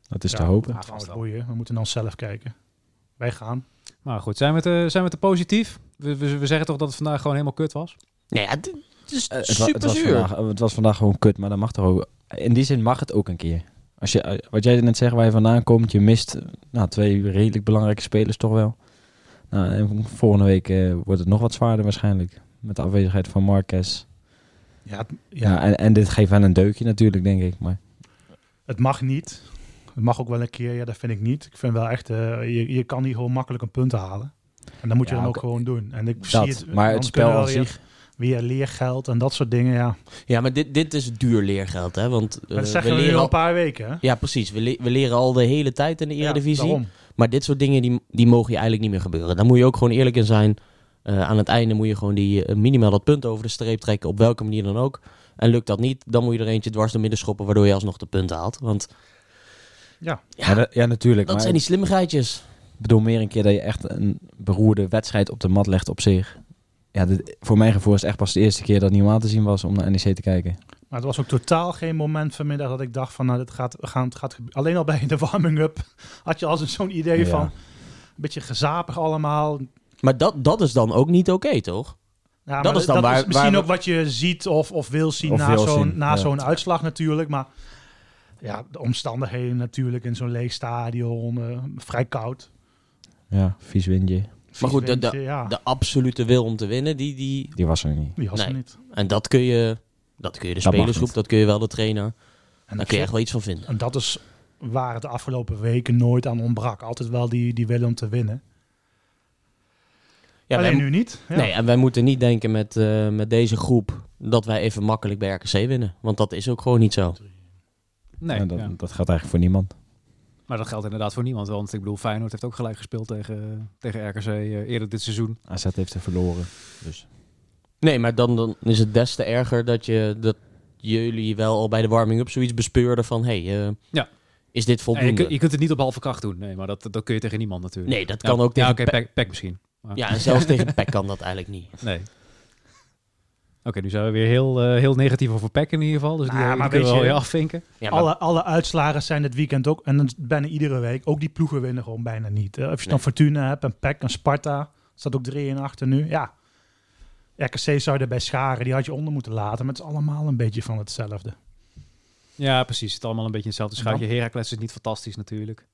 [SPEAKER 5] is
[SPEAKER 3] Ja,
[SPEAKER 5] Dus te hopen.
[SPEAKER 3] ja, trouwens, boeien. We moeten dan zelf kijken. Wij gaan.
[SPEAKER 2] Maar goed, zijn we te, zijn we te positief? We, we, we zeggen toch dat het vandaag gewoon helemaal kut was?
[SPEAKER 4] Nee, ja, dit- het is
[SPEAKER 5] Eh, het, wa- het,
[SPEAKER 4] super
[SPEAKER 5] was
[SPEAKER 4] zuur.
[SPEAKER 5] vandaag, eh, het was vandaag gewoon kut, maar dat mag toch ook. In die zin mag het ook een keer. Als je, eh, wat jij net zegt, waar je vandaan komt, je mist eh, nou, twee redelijk belangrijke spelers toch wel. Nou, en volgende week eh, wordt het nog wat zwaarder waarschijnlijk. Met de afwezigheid van Marquez.
[SPEAKER 3] Ja, het-
[SPEAKER 5] Ja,
[SPEAKER 3] ja,
[SPEAKER 5] en, en dit geeft wel een deukje natuurlijk, denk ik. Maar
[SPEAKER 3] het mag niet. Het mag ook wel een keer. Ja, dat vind ik niet. Ik vind wel echt, eh, je, je kan hier gewoon makkelijk een punt halen. En dan moet je
[SPEAKER 5] Ja,
[SPEAKER 3] dan
[SPEAKER 5] oké.
[SPEAKER 3] ook gewoon doen. En
[SPEAKER 5] dat.
[SPEAKER 3] ik zie het.
[SPEAKER 5] maar het
[SPEAKER 3] dan
[SPEAKER 5] spel
[SPEAKER 3] kunnen we
[SPEAKER 5] als
[SPEAKER 3] weer-
[SPEAKER 5] zich. Eh,
[SPEAKER 3] Weer leergeld en dat soort dingen, ja. Maar
[SPEAKER 4] Ja, maar dit, dit is duur leergeld, hè? Want eh,
[SPEAKER 3] dat
[SPEAKER 4] we
[SPEAKER 3] zeggen we nu
[SPEAKER 4] leren
[SPEAKER 3] al
[SPEAKER 4] al-
[SPEAKER 3] een paar weken, hè?
[SPEAKER 4] Ja, precies. We, le- we leren al de hele tijd in de Eredivisie.
[SPEAKER 3] daarom.
[SPEAKER 4] maar dit soort dingen die, die mogen je eigenlijk niet meer gebeuren. Daar moet je ook gewoon eerlijk in zijn. Eh, aan het einde moet je gewoon die, eh, minimaal dat punt over de streep trekken. Op welke manier dan ook. En lukt dat niet, dan moet je er eentje dwars door midden schoppen. Waardoor je alsnog de punten haalt. Want
[SPEAKER 5] Ja, dat- ja, natuurlijk.
[SPEAKER 4] dat
[SPEAKER 5] maar
[SPEAKER 4] zijn die slimmigheidjes.
[SPEAKER 5] Ik bedoel meer een keer dat je echt een beroerde wedstrijd op de mat legt op zich. Ja, dit- voor mijn gevoel is het echt pas de eerste keer dat nieuw aan te zien was om naar NEC te kijken.
[SPEAKER 3] Maar het was ook totaal geen moment vanmiddag dat ik dacht van, nou, dit gaat, we gaan, het gaat gebeuren. Alleen al bij de warming-up had je al zo- zo'n idee
[SPEAKER 5] Ja.
[SPEAKER 3] van, een beetje gezapig allemaal. Ja,
[SPEAKER 4] Maar dat, dat is dan ook niet oké, toch?
[SPEAKER 3] maar
[SPEAKER 4] Dat is dan waar-
[SPEAKER 3] misschien
[SPEAKER 4] waar-
[SPEAKER 3] ook wat je ziet of, of wil zien
[SPEAKER 5] Of
[SPEAKER 3] na
[SPEAKER 5] wil
[SPEAKER 3] zo'n
[SPEAKER 5] zien,
[SPEAKER 3] na
[SPEAKER 5] ja.
[SPEAKER 3] zo'n uitslag natuurlijk. Maar ja, de omstandigheden natuurlijk in zo'n leeg stadion, eh, vrij koud.
[SPEAKER 5] Ja, vies windje.
[SPEAKER 3] Vies
[SPEAKER 4] Maar goed, de- de-
[SPEAKER 3] windje, ja,
[SPEAKER 4] De absolute wil om te winnen, die, die,
[SPEAKER 5] Die was er niet.
[SPEAKER 3] die was er
[SPEAKER 4] Nee.
[SPEAKER 3] niet.
[SPEAKER 4] En dat kun je, dat kun je de
[SPEAKER 5] Dat mag
[SPEAKER 4] spelersgroep,
[SPEAKER 5] niet.
[SPEAKER 4] dat kun je wel de trainer.
[SPEAKER 3] En
[SPEAKER 4] Daar
[SPEAKER 3] dat,
[SPEAKER 4] kun je echt wel iets van vinden.
[SPEAKER 3] en dat is waar het de afgelopen weken nooit aan ontbrak. Altijd wel die, die wil om te winnen.
[SPEAKER 4] Ja, wij,
[SPEAKER 3] Alleen
[SPEAKER 4] mo-
[SPEAKER 3] nu niet. Ja.
[SPEAKER 4] Nee, en wij moeten niet denken met, eh, met deze groep dat wij even makkelijk bij RKC winnen. Want dat is ook gewoon niet zo.
[SPEAKER 2] Nee,
[SPEAKER 5] Ja, Nou, dat,
[SPEAKER 2] ja.
[SPEAKER 5] dat gaat eigenlijk voor niemand.
[SPEAKER 2] maar dat geldt inderdaad voor niemand. Want ik bedoel, Feyenoord heeft ook gelijk gespeeld tegen, tegen RKC eh, eerder dit seizoen.
[SPEAKER 5] AZ heeft er verloren. Dus.
[SPEAKER 4] Nee, maar dan, dan is het des te erger dat, je, dat jullie wel al bij de warming-up zoiets bespeurden van... Hé, hey, eh,
[SPEAKER 2] Ja.
[SPEAKER 4] is dit
[SPEAKER 2] Nee, je,
[SPEAKER 4] voldoende?
[SPEAKER 2] kun- je kunt het niet op halve kracht doen. Nee, maar dat, dat kun je tegen niemand natuurlijk.
[SPEAKER 4] nee, dat
[SPEAKER 2] Ja,
[SPEAKER 4] kan
[SPEAKER 2] Ja,
[SPEAKER 4] ook tegen
[SPEAKER 2] oké, Peck- Peck misschien.
[SPEAKER 4] Pe- Ja, en zelfs tegen PEC kan dat eigenlijk niet.
[SPEAKER 2] Nee. Oké, nu zijn we weer heel, eh, heel negatief over Peck in ieder geval. Dus die,
[SPEAKER 3] Nou,
[SPEAKER 2] eh, die
[SPEAKER 3] maar
[SPEAKER 2] kunnen we
[SPEAKER 3] weet
[SPEAKER 2] wel
[SPEAKER 3] je-
[SPEAKER 2] weer afvinken.
[SPEAKER 4] Ja, maar-
[SPEAKER 3] alle, alle uitslagen zijn dit weekend ook, en dat is bijna iedere week, ook die ploegen winnen gewoon bijna niet. Eh, Of je
[SPEAKER 4] Nee.
[SPEAKER 3] dan Fortuna hebt, en PEC, en Sparta, staat ook 3 in achter nu. Ja, RKC zou je erbij scharen, die had je onder moeten laten, maar het is allemaal een beetje van hetzelfde.
[SPEAKER 2] Ja, precies. Het allemaal een beetje in hetzelfde schuitje. Heracles is niet fantastisch natuurlijk.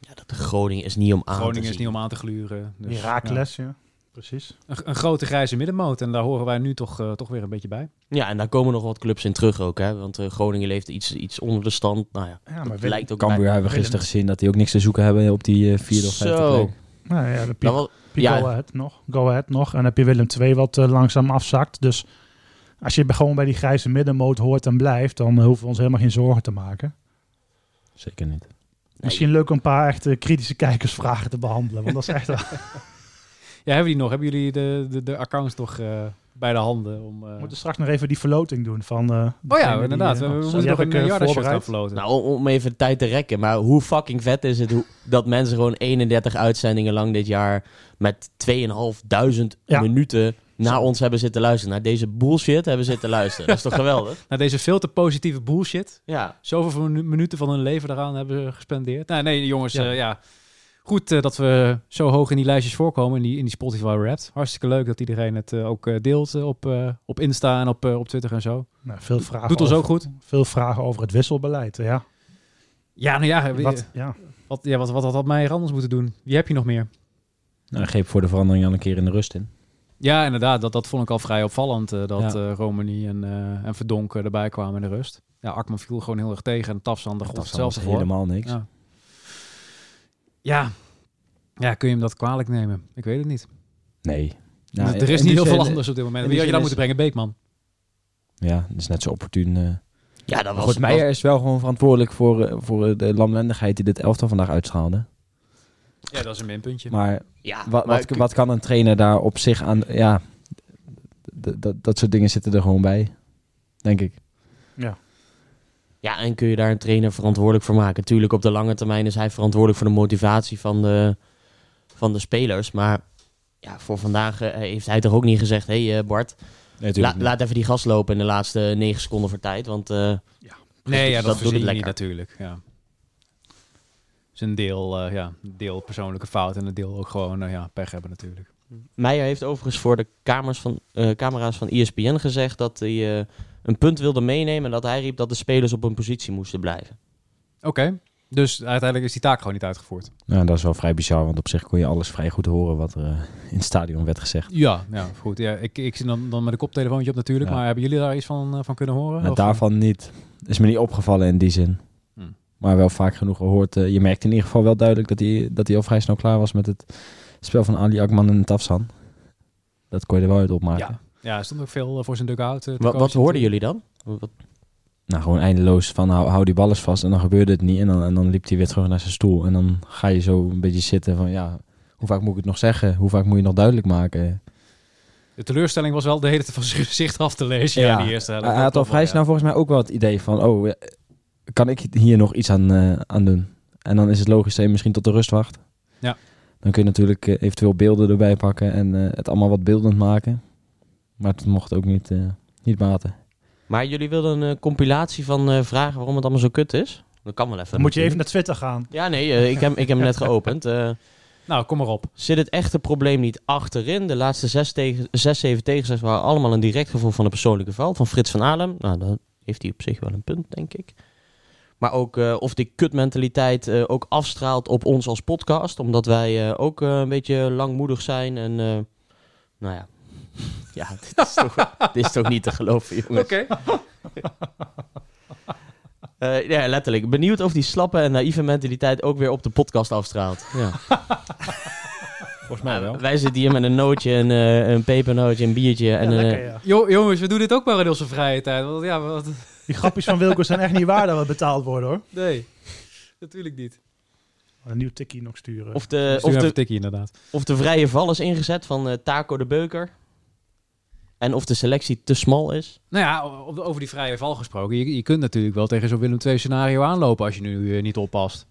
[SPEAKER 4] ja, dat Groningen is niet om aan
[SPEAKER 2] Groningen is
[SPEAKER 4] te zien.
[SPEAKER 2] niet om aan te gluren. Dus,
[SPEAKER 3] Herakles, ja. Precies.
[SPEAKER 2] ja. Een, een grote grijze middenmoot. En daar horen wij nu toch, eh, toch weer een beetje bij.
[SPEAKER 4] Ja, en daar komen nog wat clubs in terug ook. Hè? Want eh, Groningen leeft iets, iets onder de stand. Nou ja,
[SPEAKER 3] Ja, maar
[SPEAKER 4] dat
[SPEAKER 3] Willem-
[SPEAKER 4] lijkt ook bij-
[SPEAKER 5] Cambuur hebben we
[SPEAKER 3] Willem.
[SPEAKER 5] gisteren gezien dat die ook niks te zoeken hebben op die eh, vierde of vijfde
[SPEAKER 4] Zo.
[SPEAKER 5] plek.
[SPEAKER 3] Nou ja, de Piet-
[SPEAKER 4] Nou, wel-
[SPEAKER 3] Piet
[SPEAKER 4] ja.
[SPEAKER 3] go ahead nog. Go ahead nog. En dan heb je Willem 2 wat eh, langzaam afzakt. Dus als je gewoon bij die grijze middenmoot hoort en blijft, dan hoeven we ons helemaal geen zorgen te maken.
[SPEAKER 5] Zeker niet.
[SPEAKER 3] Misschien leuk om een paar echt eh, kritische kijkersvragen te behandelen, want dat is echt wel-
[SPEAKER 2] Ja, hebben die nog? Hebben jullie de, de, de accounts nog eh, bij de handen? Om, eh,
[SPEAKER 3] We moeten straks nog even die verloting doen van... eh,
[SPEAKER 2] Oh
[SPEAKER 3] degene
[SPEAKER 2] ja,
[SPEAKER 3] die,
[SPEAKER 2] inderdaad.
[SPEAKER 3] eh,
[SPEAKER 2] we we
[SPEAKER 3] oh,
[SPEAKER 2] moeten
[SPEAKER 3] die
[SPEAKER 2] nog
[SPEAKER 3] heb
[SPEAKER 2] een
[SPEAKER 3] ik, eh,
[SPEAKER 2] uh, Jardas shirt
[SPEAKER 3] voorbereid.
[SPEAKER 2] gaan verloten.
[SPEAKER 4] Nou, om, om even de tijd te rekken, maar hoe fucking vet is het hoe, dat mensen gewoon 31 uitzendingen lang dit jaar met 2500
[SPEAKER 3] Ja.
[SPEAKER 4] minuten naar ons hebben zitten luisteren. Naar deze bullshit hebben zitten luisteren. Dat is toch geweldig?
[SPEAKER 2] Nou, deze veel te positieve bullshit.
[SPEAKER 4] Ja.
[SPEAKER 2] Zoveel van minu- minuten van hun leven daaraan hebben ze gespendeerd. Nou, nee, jongens,
[SPEAKER 3] Ja.
[SPEAKER 2] ja. ja. Goed eh, dat we zo hoog in die lijstjes voorkomen, in die, in die Spotify Wrapped. Hartstikke leuk dat iedereen het eh, ook eh, deelt eh, op, eh, op Insta en op, eh, op Twitter en zo.
[SPEAKER 3] Nou, veel, vragen
[SPEAKER 2] Doet ons
[SPEAKER 3] over,
[SPEAKER 2] ook goed.
[SPEAKER 3] veel vragen over het wisselbeleid, ja.
[SPEAKER 2] Ja, nou ja, eh,
[SPEAKER 3] Wat, ja.
[SPEAKER 2] wat, ja, wat, wat had Meijer anders moeten doen? Wie heb je nog meer?
[SPEAKER 5] Nou, geef voor de verandering al een keer in de rust in.
[SPEAKER 2] Ja, inderdaad. Dat, dat vond ik al vrij opvallend. eh, dat
[SPEAKER 5] Ja.
[SPEAKER 2] eh, Romani en, eh en Verdonk eh, erbij kwamen in de rust. Ja, Akman viel gewoon heel erg tegen. En Tafsan, daar
[SPEAKER 5] Dat
[SPEAKER 2] gold
[SPEAKER 5] was zelfs
[SPEAKER 2] hetzelfde voor.
[SPEAKER 5] helemaal niks.
[SPEAKER 2] Ja. Ja. ja, kun je hem dat kwalijk nemen? Ik weet het niet.
[SPEAKER 5] Nee.
[SPEAKER 2] Dus
[SPEAKER 5] Nou,
[SPEAKER 2] er is
[SPEAKER 5] in
[SPEAKER 2] niet
[SPEAKER 5] die
[SPEAKER 2] heel
[SPEAKER 5] zin-
[SPEAKER 2] veel anders op dit moment.
[SPEAKER 5] in
[SPEAKER 2] Wie
[SPEAKER 5] die
[SPEAKER 2] had je dan
[SPEAKER 5] zin
[SPEAKER 2] moeten brengen? Beekman.
[SPEAKER 5] Ja, dat is net zo opportun. eh.
[SPEAKER 4] Ja, dat
[SPEAKER 5] Maar
[SPEAKER 4] was...
[SPEAKER 5] goed, Meijer is wel gewoon verantwoordelijk voor, eh, voor eh, de lamlendigheid die dit elftal vandaag uitstraalde.
[SPEAKER 2] Ja, dat is een minpuntje.
[SPEAKER 5] Maar
[SPEAKER 4] was- ja,
[SPEAKER 5] eh, wat,
[SPEAKER 4] maar
[SPEAKER 5] wat, wat kan een trainer daar op zich aan... Ja, d- d- dat soort dingen zitten er gewoon bij, denk ik.
[SPEAKER 4] Ja, en kun je daar een trainer verantwoordelijk voor maken? Tuurlijk, op de lange termijn is hij verantwoordelijk voor de motivatie van de, van de spelers. Maar ja, voor vandaag eh, heeft hij toch ook niet gezegd... Hé hey, eh, Bart, la- laat even die gas lopen in de laatste 9 seconden voor tijd. Want... eh,
[SPEAKER 2] nee, ja, dat,
[SPEAKER 4] dus dat doet
[SPEAKER 2] doet
[SPEAKER 4] het
[SPEAKER 2] het niet
[SPEAKER 4] lekker.
[SPEAKER 2] natuurlijk. Ja. is een deel, eh, ja, een deel persoonlijke fout en een deel ook gewoon eh, ja, pech hebben natuurlijk.
[SPEAKER 4] Meijer heeft overigens voor de kamers van, eh, camera's van ESPN gezegd dat hij eh, een punt wilde meenemen en dat hij riep dat de spelers op hun positie moesten blijven.
[SPEAKER 2] Oké, dus uiteindelijk is die taak gewoon niet uitgevoerd.
[SPEAKER 5] Nou, dat is wel vrij bizar, want op zich kon je alles vrij goed horen wat er eh, in het stadion werd gezegd.
[SPEAKER 2] Ja, ja goed. Ja, ik, ik zit dan, dan met een koptelefoontje op natuurlijk,
[SPEAKER 5] Ja.
[SPEAKER 2] maar hebben jullie daar iets van, eh, van kunnen horen?
[SPEAKER 5] Maar
[SPEAKER 2] Of-
[SPEAKER 5] daarvan niet. Is me niet opgevallen in die zin.
[SPEAKER 2] Hmm.
[SPEAKER 5] Maar wel vaak genoeg gehoord. Eh, je merkte in ieder geval wel duidelijk dat hij, dat hij al vrij snel klaar was met het spel van Ali Akman en Tafsan. Dat kon je er wel uit opmaken.
[SPEAKER 2] Ja. ja, er stond ook veel eh, voor zijn dugout.
[SPEAKER 4] Wat, wat hoorden jullie dan? Wat-
[SPEAKER 5] Nou, gewoon eindeloos van hou, hou die bal eens vast. En dan gebeurde het niet. En dan, en dan liep hij weer terug naar zijn stoel. En dan ga je zo een beetje zitten van ja, hoe vaak moet ik het nog zeggen? Hoe vaak moet je het nog duidelijk maken?
[SPEAKER 2] De teleurstelling was wel de hele tijd van zijn gezicht af te lezen. Ja,
[SPEAKER 5] Ja,
[SPEAKER 2] die eerste helft.
[SPEAKER 5] Hij had al
[SPEAKER 2] Dat
[SPEAKER 5] vrij
[SPEAKER 2] klopt wel,
[SPEAKER 5] snel volgens mij ook wel het idee van... oh, eh, kan ik hier nog iets aan, eh, aan doen? En dan is het logisch dat je misschien tot de rust wacht.
[SPEAKER 2] Ja.
[SPEAKER 5] Dan kun je natuurlijk eh, eventueel beelden erbij pakken... en eh, het allemaal wat beeldend maken. Maar het mocht ook niet, eh, niet baten.
[SPEAKER 4] Maar jullie wilden een eh, compilatie van eh, vragen waarom het allemaal zo kut is? Dat kan wel even.
[SPEAKER 3] Dan moet je even
[SPEAKER 4] natuurlijk.
[SPEAKER 3] naar Twitter gaan.
[SPEAKER 4] Ja, nee, eh, ik heb, ik heb hem net geopend. Eh,
[SPEAKER 2] ja. Nou, kom maar op.
[SPEAKER 4] zit het echte probleem niet achterin? De laatste zes, tegen, zes zeven tegenstanders waren allemaal een direct gevolg van een persoonlijke fout van Frits van Alem. Nou, dan heeft hij op zich wel een punt, denk ik. Maar ook eh, of die kutmentaliteit eh, ook afstraalt op ons als podcast. Omdat wij eh, ook eh, een beetje langmoedig zijn. En eh, nou ja, ja dit, is toch, dit is toch niet te geloven, jongens. Eh, ja, letterlijk. Benieuwd of die slappe en naïeve mentaliteit ook weer op de podcast afstraalt. Ja.
[SPEAKER 5] Volgens
[SPEAKER 4] Nou, wij zitten hier met een nootje, een, eh, een pepernootje, een biertje. En,
[SPEAKER 3] ja,
[SPEAKER 4] eh,
[SPEAKER 3] lekker, ja.
[SPEAKER 2] Jo- jongens, we doen dit ook wel in onze vrije tijd. Want ja, wat,
[SPEAKER 3] Die grapjes van Wilco zijn echt niet waar dat we betaald worden hoor.
[SPEAKER 2] nee, natuurlijk niet.
[SPEAKER 3] Een nieuw tikkie nog sturen.
[SPEAKER 4] of, de,
[SPEAKER 2] Stuur
[SPEAKER 4] of,
[SPEAKER 2] even
[SPEAKER 4] de,
[SPEAKER 2] een tikkie inderdaad.
[SPEAKER 4] of de vrije val is ingezet van eh, Taco de Beuker. En of de selectie te smal is.
[SPEAKER 2] Nou ja, o- over die vrije val gesproken. Je, je kunt natuurlijk wel tegen zo'n Willem II scenario aanlopen als je nu eh, niet oppast.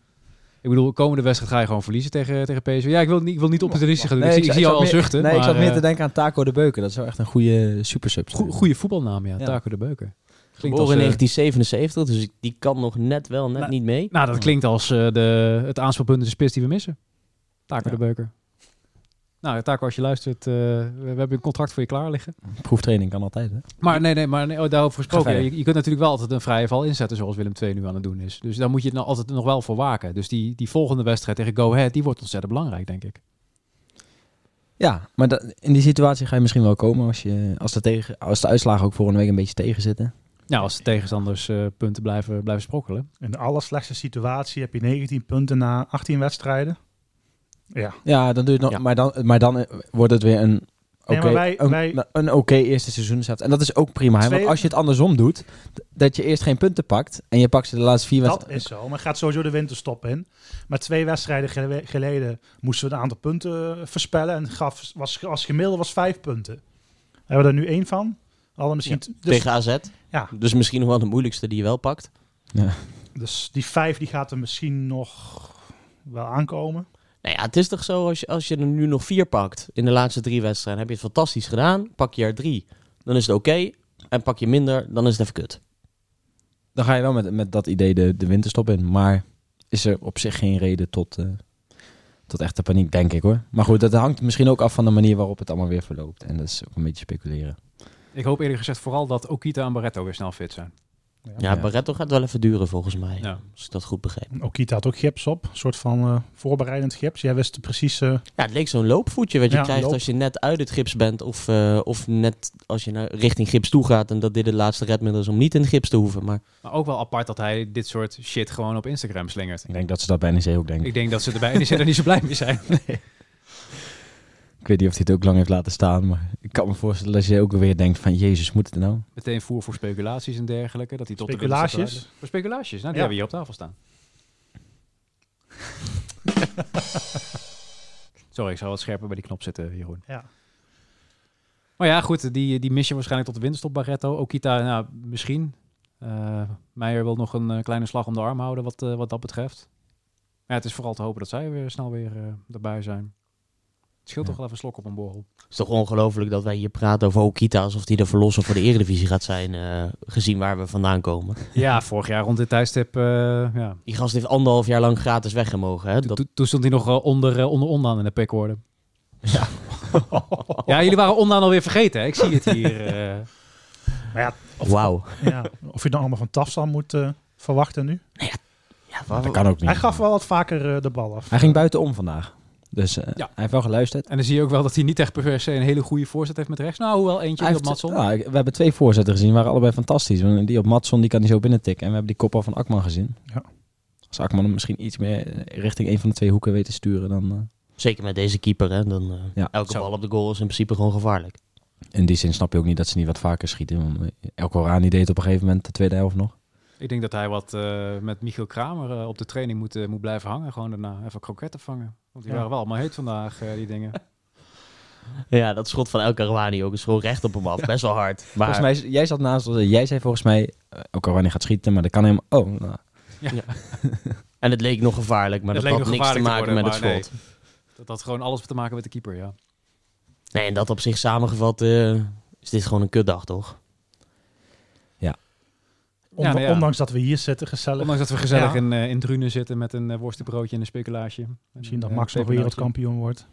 [SPEAKER 2] Ik bedoel, komende wedstrijd ga je gewoon verliezen tegen, tegen PSV. Ja, ik wil, niet, ik wil niet opportunistisch gaan doen. ik, zie- ik zie jou al zuchten.
[SPEAKER 5] Nee, ik
[SPEAKER 2] maar,
[SPEAKER 5] zat meer te
[SPEAKER 2] eh,
[SPEAKER 5] denken aan Taco de Beuken. Dat is wel echt een goede supersub.
[SPEAKER 2] goe- Goede voetbalnaam, ja.
[SPEAKER 5] Ja.
[SPEAKER 2] Taco de Beuker. Klinkt
[SPEAKER 4] Geboren in
[SPEAKER 2] eh,
[SPEAKER 4] 1977, dus die kan nog net wel, net
[SPEAKER 2] Nou,
[SPEAKER 4] niet mee.
[SPEAKER 2] Nou, dat klinkt als eh, de, het aanspelpunt in de spits die we missen. Taco
[SPEAKER 5] Ja.
[SPEAKER 2] de Beuker. Nou, Taco, als je luistert, eh, we, we hebben een contract voor je klaar liggen.
[SPEAKER 5] Proeftraining kan altijd, hè?
[SPEAKER 2] Maar nee, nee, maar nee, oh, daarover gesproken.
[SPEAKER 5] Ga verder.
[SPEAKER 2] je, je kunt natuurlijk wel altijd een vrije val inzetten, zoals Willem II nu aan het doen is. Dus daar moet je nou altijd nog wel voor waken. Dus die, die volgende wedstrijd tegen Go Ahead, die wordt ontzettend belangrijk, denk ik.
[SPEAKER 5] Ja, maar dat- in die situatie ga je misschien wel komen als, je, als, de tegen, als de uitslagen ook volgende week een beetje tegen zitten.
[SPEAKER 2] Nou, als de tegenstanders eh, punten blijven, blijven sprokkelen.
[SPEAKER 3] In de allerslechtste situatie heb je 19 punten na 18 wedstrijden. Ja,
[SPEAKER 5] Ja, dan doe je het nog,
[SPEAKER 4] Ja.
[SPEAKER 5] Maar, dan, maar dan eh, wordt het weer een oké
[SPEAKER 3] Nee, maar wij-
[SPEAKER 5] een,
[SPEAKER 3] wij-
[SPEAKER 5] een oké eerste seizoen. En dat is ook prima. hè,
[SPEAKER 3] Twee-
[SPEAKER 5] Want als je het andersom doet, d- dat je eerst geen punten pakt en je pakt ze de laatste vier
[SPEAKER 3] dat
[SPEAKER 5] wedstrijden.
[SPEAKER 3] is zo. Maar gaat sowieso de winterstop in. Maar twee wedstrijden gele- geleden moesten we een aantal punten eh, voorspellen. En gaf, was, als gemiddelde was vijf punten. Hebben we er nu één van? Hadden misschien t- dus,
[SPEAKER 4] tegen AZ.
[SPEAKER 3] Ja.
[SPEAKER 4] Dus misschien nog wel de moeilijkste die je wel pakt.
[SPEAKER 3] dus die vijf die gaat er misschien nog wel aankomen.
[SPEAKER 4] Nou ja, het is toch zo, als je, als je er nu nog vier pakt in de laatste drie wedstrijden, heb je het fantastisch gedaan. Pak je er drie, dan is het oké. En pak je minder, dan is het even kut.
[SPEAKER 5] Dan ga je wel met, met dat idee de, de winterstop in. Maar is er op zich geen reden tot, eh tot echte paniek, denk ik hoor. Maar goed, dat hangt misschien ook af van de manier waarop het allemaal weer verloopt. En dat is ook een beetje speculeren.
[SPEAKER 2] Ik hoop eerlijk gezegd vooral dat Okita en Barretto weer snel fit zijn.
[SPEAKER 4] Ja,
[SPEAKER 5] Ja.
[SPEAKER 4] Barretto gaat wel even duren volgens mij.
[SPEAKER 2] Ja.
[SPEAKER 4] Als ik dat goed begreep.
[SPEAKER 3] Okita had ook gips op. Een soort van eh, voorbereidend gips. Jij wist precies... eh,
[SPEAKER 4] Ja, het leek zo'n loopvoetje wat je
[SPEAKER 3] Ja,
[SPEAKER 4] krijgt
[SPEAKER 3] loop.
[SPEAKER 4] als je net uit het gips bent. Of, eh, of net als je naar richting gips toe gaat. En dat dit het laatste redmiddel is om niet in het gips te hoeven. Maar
[SPEAKER 2] Maar ook wel apart dat hij dit soort shit gewoon op Instagram slingert.
[SPEAKER 5] Ik denk dat ze dat bij NEC ook denken.
[SPEAKER 2] Ik denk dat ze erbij die zijn er niet zo blij mee zijn.
[SPEAKER 5] Ik weet niet of hij het ook lang heeft laten staan, maar ik kan me voorstellen dat je ook weer denkt van, Jezus, moet het nou?
[SPEAKER 2] Meteen voer voor speculaties en dergelijke. Dat hij tot de
[SPEAKER 3] Speculaties?
[SPEAKER 2] winterstop rijdt. Voor speculaties. Nou, die hebben
[SPEAKER 3] Ja.
[SPEAKER 2] we hier op tafel staan. Sorry, ik zou wat scherper bij die knop zitten, Jeroen.
[SPEAKER 3] ja.
[SPEAKER 2] Maar ja, goed, die, die mis je waarschijnlijk tot de winst op Barretto. Okita, nou, misschien. Eh, Meijer wil nog een eh, kleine slag om de arm houden wat, eh, wat dat betreft. Maar ja, het is vooral te hopen dat zij weer snel weer eh, erbij zijn. Het scheelt toch wel even slok op een borrel.
[SPEAKER 4] Het is toch ongelooflijk dat wij hier praten over Okita alsof die de verlosser voor de Eredivisie gaat zijn, eh, gezien waar we vandaan komen.
[SPEAKER 2] Ja, vorig jaar rond dit tijdstip. eh, ja.
[SPEAKER 4] Die gast heeft anderhalf jaar lang gratis weggemogen. Hè? Dat...
[SPEAKER 2] Toen- Toen stond hij nog eh, onder, eh, onder onderaan in de Oh. pekorde. Ja. ja, jullie waren onderaan alweer vergeten. Hè? Ik zie het hier. eh.
[SPEAKER 3] Maar ja,
[SPEAKER 4] Wauw.
[SPEAKER 3] ja, of je dan allemaal van Tafsan moet eh, verwachten nu.
[SPEAKER 4] Ja,
[SPEAKER 5] Dat kan ook niet.
[SPEAKER 3] Hij gaf wel wat vaker eh, de bal af.
[SPEAKER 5] Hij ging buitenom vandaag. Dus eh,
[SPEAKER 2] Ja.
[SPEAKER 5] hij heeft wel geluisterd.
[SPEAKER 2] En dan zie je ook wel dat hij niet echt per se een hele goede voorzet heeft met rechts. Nou, hoewel eentje
[SPEAKER 5] Hij
[SPEAKER 2] op
[SPEAKER 5] heeft-
[SPEAKER 2] Matson.
[SPEAKER 5] nou, ik- we hebben twee voorzetten gezien, waren allebei fantastisch. Want Die op Matson die kan hij zo binnentikken. En we hebben die kopbal van Akman gezien.
[SPEAKER 3] Ja.
[SPEAKER 5] Als Akman hem misschien iets meer eh, richting een van de twee hoeken weet te sturen, dan eh,
[SPEAKER 4] Zeker met deze keeper. Hè? Dan, eh,
[SPEAKER 5] Ja,
[SPEAKER 4] elke
[SPEAKER 5] zo.
[SPEAKER 4] bal op de goal is in principe gewoon gevaarlijk.
[SPEAKER 5] in die zin snap je ook niet dat ze niet wat vaker schieten. Want eh, El Korani deed op een gegeven moment de tweede helft nog.
[SPEAKER 2] Ik denk dat hij wat eh, met Michiel Kramer eh, op de training moet, eh, moet blijven hangen. Gewoon daarna even kroketten vangen. Want die
[SPEAKER 3] Ja.
[SPEAKER 2] waren wel allemaal heet vandaag, eh, die dingen.
[SPEAKER 4] Ja, dat schot van El Karouani ook is gewoon recht op hem af. Best wel hard. Maar
[SPEAKER 5] Volgens mij, is- jij zat naast ons. en Jij zei volgens mij, eh, El Korani gaat schieten, maar dat kan helemaal... Oh, nou,
[SPEAKER 4] En het leek nog gevaarlijk, maar
[SPEAKER 2] Het
[SPEAKER 4] dat,
[SPEAKER 2] leek
[SPEAKER 4] had
[SPEAKER 2] nog
[SPEAKER 4] niks te maken
[SPEAKER 2] gevaarlijk te
[SPEAKER 4] met het
[SPEAKER 2] worden,
[SPEAKER 4] schot.
[SPEAKER 2] Dat had gewoon alles te maken met de keeper, ja.
[SPEAKER 4] Nee. en dat op zich samengevat eh, is dit gewoon een kutdag, toch?
[SPEAKER 3] Ondan-
[SPEAKER 2] nou ja.
[SPEAKER 3] Ondanks dat we hier zitten, gezellig.
[SPEAKER 2] Ondanks dat we gezellig
[SPEAKER 3] Ja.
[SPEAKER 2] in, eh, in Drunen zitten met een eh, worstenbroodje en een speculaasje. En
[SPEAKER 3] Misschien
[SPEAKER 2] een,
[SPEAKER 3] dat
[SPEAKER 2] eh,
[SPEAKER 3] Max nog
[SPEAKER 2] pepernootje.
[SPEAKER 3] wereldkampioen wordt.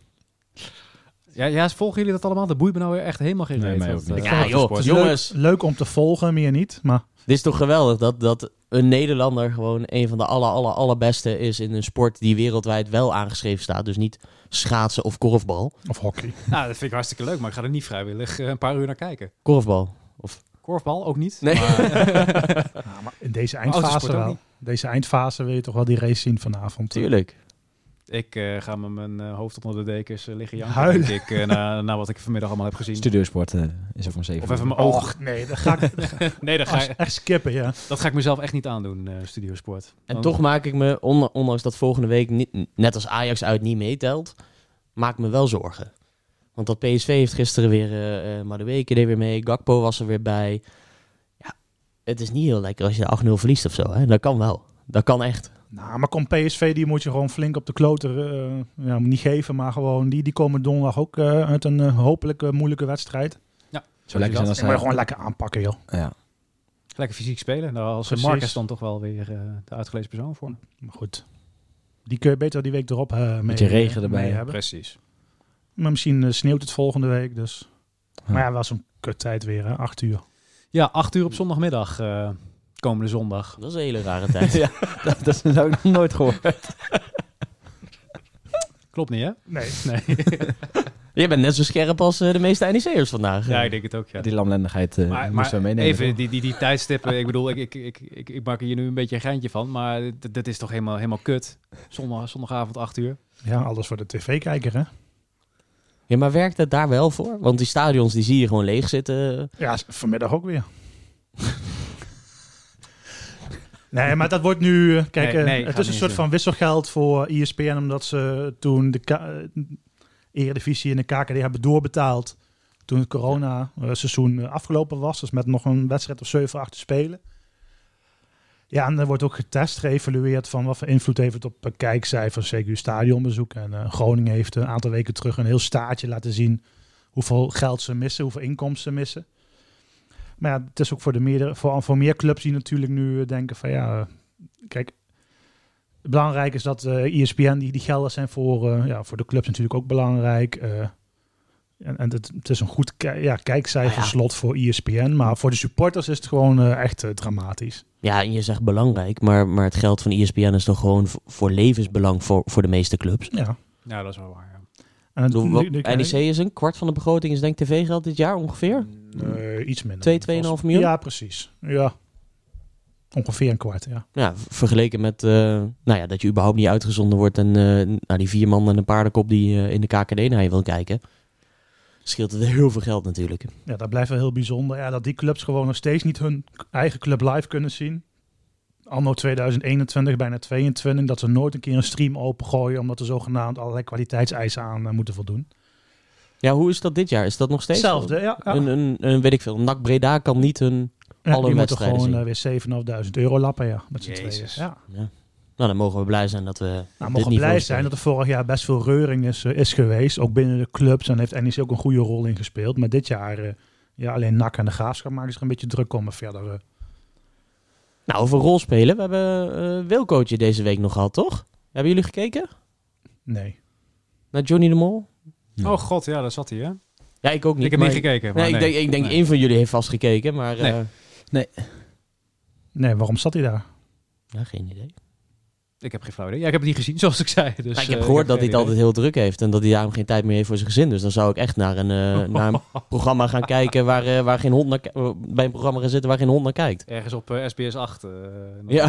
[SPEAKER 2] Ja, ja, volgen jullie dat allemaal? Dat boeit me nou weer echt helemaal geen
[SPEAKER 5] Nee,
[SPEAKER 2] reet,
[SPEAKER 5] mij
[SPEAKER 2] want,
[SPEAKER 5] ook niet.
[SPEAKER 2] eh,
[SPEAKER 4] Ja, joh,
[SPEAKER 2] autosport.
[SPEAKER 3] Het is
[SPEAKER 4] Jongens.
[SPEAKER 3] Leuk, leuk om te volgen, meer niet. Maar
[SPEAKER 4] Dit is toch geweldig dat, dat een Nederlander gewoon een van de aller, aller, allerbeste is in een sport die wereldwijd wel aangeschreven staat. Dus niet schaatsen of korfbal.
[SPEAKER 3] of hockey.
[SPEAKER 2] Nou, dat vind ik hartstikke leuk, maar ik ga er niet vrijwillig eh, een paar uur naar kijken.
[SPEAKER 4] Korfbal.
[SPEAKER 2] Korfbal ook niet.
[SPEAKER 4] Nee.
[SPEAKER 3] Ja, maar in deze
[SPEAKER 2] Autosport
[SPEAKER 3] eindfase
[SPEAKER 2] ook
[SPEAKER 3] wel.
[SPEAKER 2] niet.
[SPEAKER 3] Deze eindfase wil je toch wel die race zien vanavond.
[SPEAKER 4] Tuurlijk.
[SPEAKER 2] Ik eh, ga met mijn eh, hoofd onder de dekens eh, liggen janken,
[SPEAKER 3] Huilen.
[SPEAKER 2] denk ik, eh, na, na wat ik vanmiddag allemaal heb gezien.
[SPEAKER 5] Studiosport eh, is er om zeven
[SPEAKER 2] Of
[SPEAKER 5] uur.
[SPEAKER 2] even mijn ogen.
[SPEAKER 3] Och, nee, dat ga ik
[SPEAKER 2] Nee, dat ga,
[SPEAKER 3] echt- echt skippen, ja.
[SPEAKER 2] dat ga ik mezelf echt niet aandoen, eh Studiosport.
[SPEAKER 4] En
[SPEAKER 2] Want-
[SPEAKER 4] toch maak ik me, on- ondanks dat volgende week niet, net als Ajax uit niet meetelt, maak ik me wel zorgen. Want dat PSV heeft gisteren weer, eh eh Madueke deed weer mee, Gakpo was er weer bij. Ja, het is niet heel lekker als je 8-0 verliest of zo. Hè? Dat kan wel. Dat kan echt.
[SPEAKER 3] Nou, maar komt PSV, die moet je gewoon flink op de kloter eh, ja, niet geven. Maar gewoon, die, die komen donderdag ook eh, uit een eh, hopelijk eh, moeilijke wedstrijd.
[SPEAKER 5] Zo lekker zijn als
[SPEAKER 3] En maar
[SPEAKER 5] hij...
[SPEAKER 3] gewoon lekker aanpakken, joh.
[SPEAKER 5] Ja.
[SPEAKER 2] Lekker fysiek spelen. Nou, als
[SPEAKER 3] Precies.
[SPEAKER 2] Marcus dan toch wel weer eh, de uitgelezen persoon voor.
[SPEAKER 3] Maar goed, die kun je beter die week erop eh mee,
[SPEAKER 5] Beetje regen erbij.
[SPEAKER 3] mee hebben.
[SPEAKER 2] Precies.
[SPEAKER 3] Maar misschien eh, sneeuwt het volgende week, dus.
[SPEAKER 5] Ja.
[SPEAKER 3] Maar ja, wel zo'n kuttijd weer, hè. Acht uur.
[SPEAKER 2] Ja, acht uur op zondagmiddag. eh, komende zondag.
[SPEAKER 4] Dat is een hele rare tijd.
[SPEAKER 5] Ja. dat, dat is ook nog nooit gehoord.
[SPEAKER 2] Klopt niet, hè?
[SPEAKER 3] Nee.
[SPEAKER 2] Nee.
[SPEAKER 4] Je bent net zo scherp als eh, de meeste NEC'ers vandaag. eh.
[SPEAKER 2] ja, ik denk het ook, ja.
[SPEAKER 5] Die lamlendigheid eh
[SPEAKER 2] Maar,
[SPEAKER 5] moesten we
[SPEAKER 2] maar
[SPEAKER 5] meenemen.
[SPEAKER 2] even
[SPEAKER 5] toch?
[SPEAKER 2] die, die, die tijdstippen. ik bedoel, ik, ik, ik, ik, ik maak er hier nu een beetje een geintje van. Maar dit, dit is toch helemaal, helemaal kut. Zondag, zondagavond, acht uur.
[SPEAKER 3] Ja, alles voor de tv-kijker, hè.
[SPEAKER 4] Ja, maar werkt het daar wel voor? Want die stadions die zie je gewoon leeg zitten.
[SPEAKER 3] Ja, s- vanmiddag ook weer. nee, maar dat wordt nu... eh, Kijk,
[SPEAKER 2] Nee,
[SPEAKER 3] eh,
[SPEAKER 2] nee,
[SPEAKER 3] het
[SPEAKER 2] gaat
[SPEAKER 3] is een
[SPEAKER 2] niet
[SPEAKER 3] soort
[SPEAKER 2] doen.
[SPEAKER 3] van wisselgeld voor E ESPN... omdat ze toen de K- eh, Eredivisie en de KKD hebben doorbetaald... toen het corona-seizoen afgelopen was. Dus met nog een wedstrijd of 7, 8 te spelen. Ja, en er wordt ook getest, geëvalueerd... van wat voor invloed heeft het op eh, kijkcijfers, zeker stadionbezoek. En eh, Groningen heeft een aantal weken terug een heel staartje laten zien... hoeveel geld ze missen, hoeveel inkomsten ze missen. Maar ja, het is ook voor, de meerdere, voor, voor meer clubs die natuurlijk nu eh, denken van ja, eh, kijk, belangrijk is dat eh ESPN, die, die gelden zijn voor, eh, ja, voor de clubs natuurlijk ook belangrijk. eh. en en het, het is een goed ki- ja, kijkcijferslot voor E ESPN, maar voor de supporters is het gewoon eh, echt eh, dramatisch.
[SPEAKER 4] Ja, en je zegt belangrijk, maar, maar het geld van E ESPN is toch gewoon v- voor levensbelang voor, voor de meeste clubs. Ik
[SPEAKER 3] Ja.
[SPEAKER 2] Ja, dat is wel waar, ja.
[SPEAKER 3] En het-
[SPEAKER 4] bedoel, wat-
[SPEAKER 3] nu- nu-
[SPEAKER 4] NEC is een kwart van de begroting, is denk ik tv-geld dit jaar ongeveer.
[SPEAKER 3] Nee, eh, iets minder.
[SPEAKER 4] Twee, 2,5 miljoen?
[SPEAKER 3] Ja, precies. Ja. Ongeveer een kwart, ja.
[SPEAKER 4] Ja, v- vergeleken met eh, nou ja, dat je überhaupt niet uitgezonden wordt en eh, nou, die vier man en een paardenkop die eh, in de KKD naar je wil kijken. Scheelt het heel veel geld natuurlijk.
[SPEAKER 3] Ja, dat blijft wel heel bijzonder. Ja, dat die clubs gewoon nog steeds niet hun eigen club live kunnen zien. Anno 2021, bijna 22, dat ze nooit een keer een stream opengooien... omdat er zogenaamd allerlei kwaliteitseisen aan eh, moeten voldoen.
[SPEAKER 4] Ja, hoe is dat dit jaar? Is dat nog steeds? zo?
[SPEAKER 3] Hetzelfde, ja. ja.
[SPEAKER 4] Een, een, een, weet ik veel, NAC Breda kan niet hun...
[SPEAKER 3] Ja,
[SPEAKER 4] alle
[SPEAKER 3] die moeten
[SPEAKER 4] wedstrijden
[SPEAKER 3] gewoon
[SPEAKER 4] zien.
[SPEAKER 3] eh, weer 7.500 euro lappen, ja, met z'n tweeën.
[SPEAKER 2] Jezus.
[SPEAKER 3] Ja.
[SPEAKER 4] Ja. Nou, dan mogen we blij zijn dat we.
[SPEAKER 3] Nou,
[SPEAKER 4] dit
[SPEAKER 3] mogen we
[SPEAKER 4] niveau
[SPEAKER 3] blij
[SPEAKER 4] spelen.
[SPEAKER 3] zijn dat er vorig jaar best veel reuring is, eh, is geweest. Ook binnen de clubs. En heeft NEC ook een goede rol in gespeeld. Maar dit jaar, eh, ja, alleen NAC en de Graafschap maken zich er een beetje druk om. Maar verder, eh,
[SPEAKER 4] Nou, over rolspelen. We hebben eh Wilcootje deze week nog gehad, toch? Hebben jullie gekeken?
[SPEAKER 3] nee.
[SPEAKER 4] Naar Johnny de Mol?
[SPEAKER 2] Oh god, ja, daar zat hij, hè?
[SPEAKER 4] Ja, ik ook niet.
[SPEAKER 2] ik heb
[SPEAKER 4] maar-
[SPEAKER 2] niet gekeken. maar
[SPEAKER 4] Nee, ik denk, ik denk
[SPEAKER 2] Nee.
[SPEAKER 4] één van jullie heeft vast gekeken, maar...
[SPEAKER 2] Nee.
[SPEAKER 4] eh,
[SPEAKER 3] Nee, waarom zat hij daar?
[SPEAKER 4] ja, geen idee.
[SPEAKER 2] Ik heb geen flauw idee. Ja, ik heb het niet gezien, zoals ik zei. Dus,
[SPEAKER 4] Maar ik heb
[SPEAKER 2] eh,
[SPEAKER 4] gehoord dat
[SPEAKER 2] geen
[SPEAKER 4] hij het altijd
[SPEAKER 2] idee.
[SPEAKER 4] heel druk heeft en dat hij daarom geen tijd meer heeft voor zijn gezin. Dus dan zou ik echt naar een, eh, naar een programma gaan kijken waar, eh, waar geen hond naar... ki- eh, Bij een programma gaan zitten waar geen hond naar kijkt.
[SPEAKER 2] Ergens op eh, SBS 8. eh, nog.
[SPEAKER 4] Ja.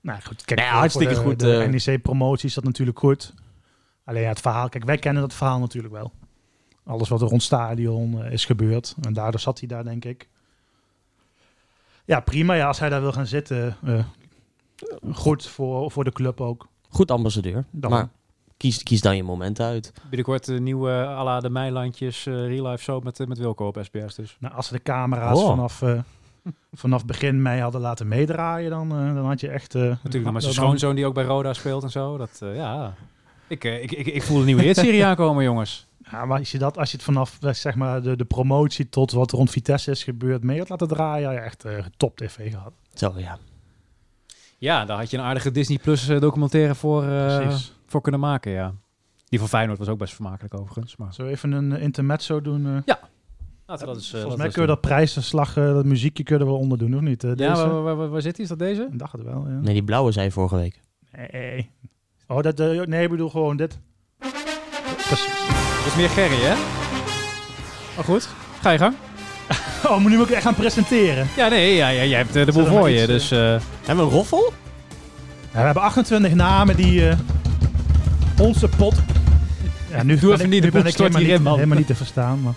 [SPEAKER 3] Nou goed, kijk,
[SPEAKER 4] Nee,
[SPEAKER 3] voor-
[SPEAKER 4] hartstikke
[SPEAKER 3] voor de,
[SPEAKER 4] goed,
[SPEAKER 3] De
[SPEAKER 4] eh.
[SPEAKER 3] NEC-promotie is dat natuurlijk goed. Alleen ja, het verhaal, kijk, wij kennen dat verhaal natuurlijk wel. Alles wat er rond stadion eh, is gebeurd. En daardoor zat hij daar, denk ik. Ja, prima. Ja, als hij daar wil gaan zitten. eh, goed voor, voor de club ook.
[SPEAKER 4] Goed ambassadeur.
[SPEAKER 3] Dan.
[SPEAKER 4] Maar kies, kies dan je moment uit.
[SPEAKER 2] Binnenkort een nieuwe à la de Meilandjes eh, Real Life Show met, eh, met Wilco op SBS. Dus.
[SPEAKER 3] Nou, als ze de camera's
[SPEAKER 4] Oh.
[SPEAKER 3] vanaf, eh, vanaf begin mei hadden laten meedraaien, dan, eh, dan had je echt... eh,
[SPEAKER 2] Natuurlijk nog met zijn
[SPEAKER 3] dan-
[SPEAKER 2] schoonzoon die ook bij Roda speelt en zo. Dat, eh, ja. Ik, eh, ik, ik, ik voel een nieuwe hitserie aankomen, jongens.
[SPEAKER 3] Ja, maar als je, dat, als je het vanaf eh, zeg maar, de, de promotie tot wat rond Vitesse is gebeurd mee had laten draaien, had je echt eh, top tv gehad.
[SPEAKER 4] Zo, ja.
[SPEAKER 2] Ja, daar had je een aardige Disney Plus eh, documentaire voor, eh,
[SPEAKER 3] Precies.
[SPEAKER 2] voor kunnen maken, ja. Die van Feyenoord was ook best vermakelijk overigens. Maar...
[SPEAKER 3] Zullen we even een eh, intermezzo doen? eh?
[SPEAKER 2] Laten we dat eens, eh,
[SPEAKER 3] Volgens
[SPEAKER 2] laten
[SPEAKER 3] mij
[SPEAKER 2] we
[SPEAKER 3] kunnen we dat prijsverslag, eh, dat muziekje kunnen we onder doen, of niet? Eh,
[SPEAKER 2] eens doen.
[SPEAKER 3] deze?
[SPEAKER 2] Ja, waar, waar, waar- waar zit die? Is dat deze?
[SPEAKER 3] Ik dacht het wel, ja.
[SPEAKER 4] Nee, die blauwe zei vorige week.
[SPEAKER 3] Nee. Oh, dat, eh, nee, ik bedoel gewoon dit. Precies.
[SPEAKER 2] Dat is meer Gerry, hè? Oh, goed. Ga je gang.
[SPEAKER 3] Oh, maar nu moet ik echt gaan presenteren.
[SPEAKER 2] Ja, nee, ja, ja, jij hebt eh, de boel
[SPEAKER 3] Zet er
[SPEAKER 2] voor
[SPEAKER 3] maar
[SPEAKER 2] je.
[SPEAKER 3] iets,
[SPEAKER 2] Dus, eh,
[SPEAKER 4] Hebben we een roffel?
[SPEAKER 3] Ja, we hebben 28 namen die eh, onze pot... Ja, nu
[SPEAKER 2] Doe even
[SPEAKER 3] ben ik-
[SPEAKER 2] niet, de
[SPEAKER 3] nu ben
[SPEAKER 2] boel
[SPEAKER 3] ik
[SPEAKER 2] stort
[SPEAKER 3] helemaal
[SPEAKER 2] hierin,
[SPEAKER 3] niet,
[SPEAKER 2] man.
[SPEAKER 3] helemaal niet te verstaan, maar...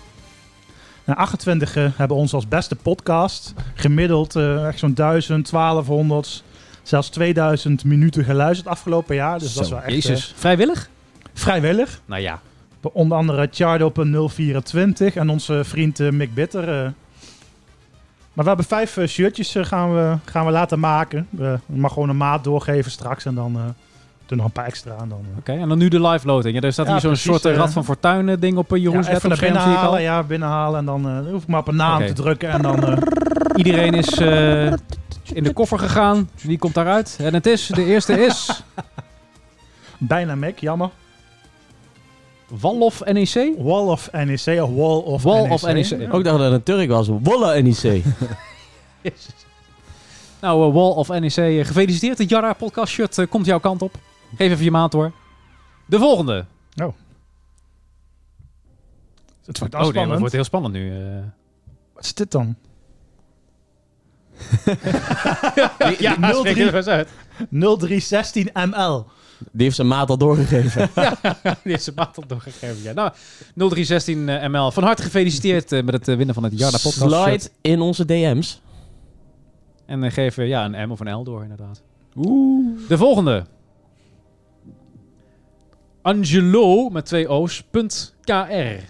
[SPEAKER 3] Nou, 28 eh, hebben ons als beste podcast gemiddeld eh, echt zo'n 1000, 1200, zelfs 2000 minuten geluisterd afgelopen jaar. Dus dat is
[SPEAKER 5] Zo,
[SPEAKER 3] wel echt eh,
[SPEAKER 2] Vrijwillig?
[SPEAKER 3] vrijwillig.
[SPEAKER 2] Nou ja.
[SPEAKER 3] Onder andere Chardo.024 en onze vriend eh, Mick Bitter. eh. Maar we hebben vijf eh, shirtjes eh, gaan, we, gaan we laten maken. Eh, Ik mag gewoon een maat doorgeven straks en dan eh doen nog een paar extra aan. Dan, eh.
[SPEAKER 2] Oké, en dan nu de live loting. Ja, daar staat
[SPEAKER 3] Ja,
[SPEAKER 2] hier zo'n
[SPEAKER 3] precies,
[SPEAKER 2] soort eh,
[SPEAKER 3] eh,
[SPEAKER 2] Rad van Fortuin eh, ding op eh, Jeroen's
[SPEAKER 3] ja, even naar
[SPEAKER 2] laptopscherm,
[SPEAKER 3] binnen
[SPEAKER 2] zie ik al.
[SPEAKER 3] halen, ja, binnenhalen en dan eh, dan hoef ik maar op een naam
[SPEAKER 2] Oké.
[SPEAKER 3] te drukken. En dan, eh,
[SPEAKER 2] Iedereen is eh, in de koffer gegaan. Wie komt daaruit? En het is, de eerste is
[SPEAKER 3] bijna Mick, jammer.
[SPEAKER 2] Wallof NEC.
[SPEAKER 3] Wall of NEC of eh, Wall of E
[SPEAKER 2] Wall
[SPEAKER 3] NEC.
[SPEAKER 2] of E NEC.
[SPEAKER 4] Ook dacht dat het een Turk was. Wolle NEC.
[SPEAKER 2] Nou, eh, Wall of NEC, eh, gefeliciteerd. Het Jarra podcast shirt eh, komt jouw kant op. Geef even je maat hoor. De volgende.
[SPEAKER 3] Het wordt
[SPEAKER 2] oh, nee,
[SPEAKER 3] afspannend.
[SPEAKER 2] dat wordt heel spannend nu. eh.
[SPEAKER 3] Wat is dit dan?
[SPEAKER 2] ja,
[SPEAKER 3] nul
[SPEAKER 2] spreek
[SPEAKER 3] drie.
[SPEAKER 2] er eens uit.
[SPEAKER 3] 0316 ML.
[SPEAKER 4] Die heeft zijn maat al doorgegeven.
[SPEAKER 2] Die is zijn maat al doorgegeven. Ja. Nou, 0316 eh, ML. Van harte gefeliciteerd eh, met het eh, winnen van het Jarda Podcast. shirt.
[SPEAKER 4] Slide in onze DM's.
[SPEAKER 2] En eh, geef eh, ja, een M of een L door, inderdaad. Oeh. De volgende. Angelo, met twee O's, punt KR.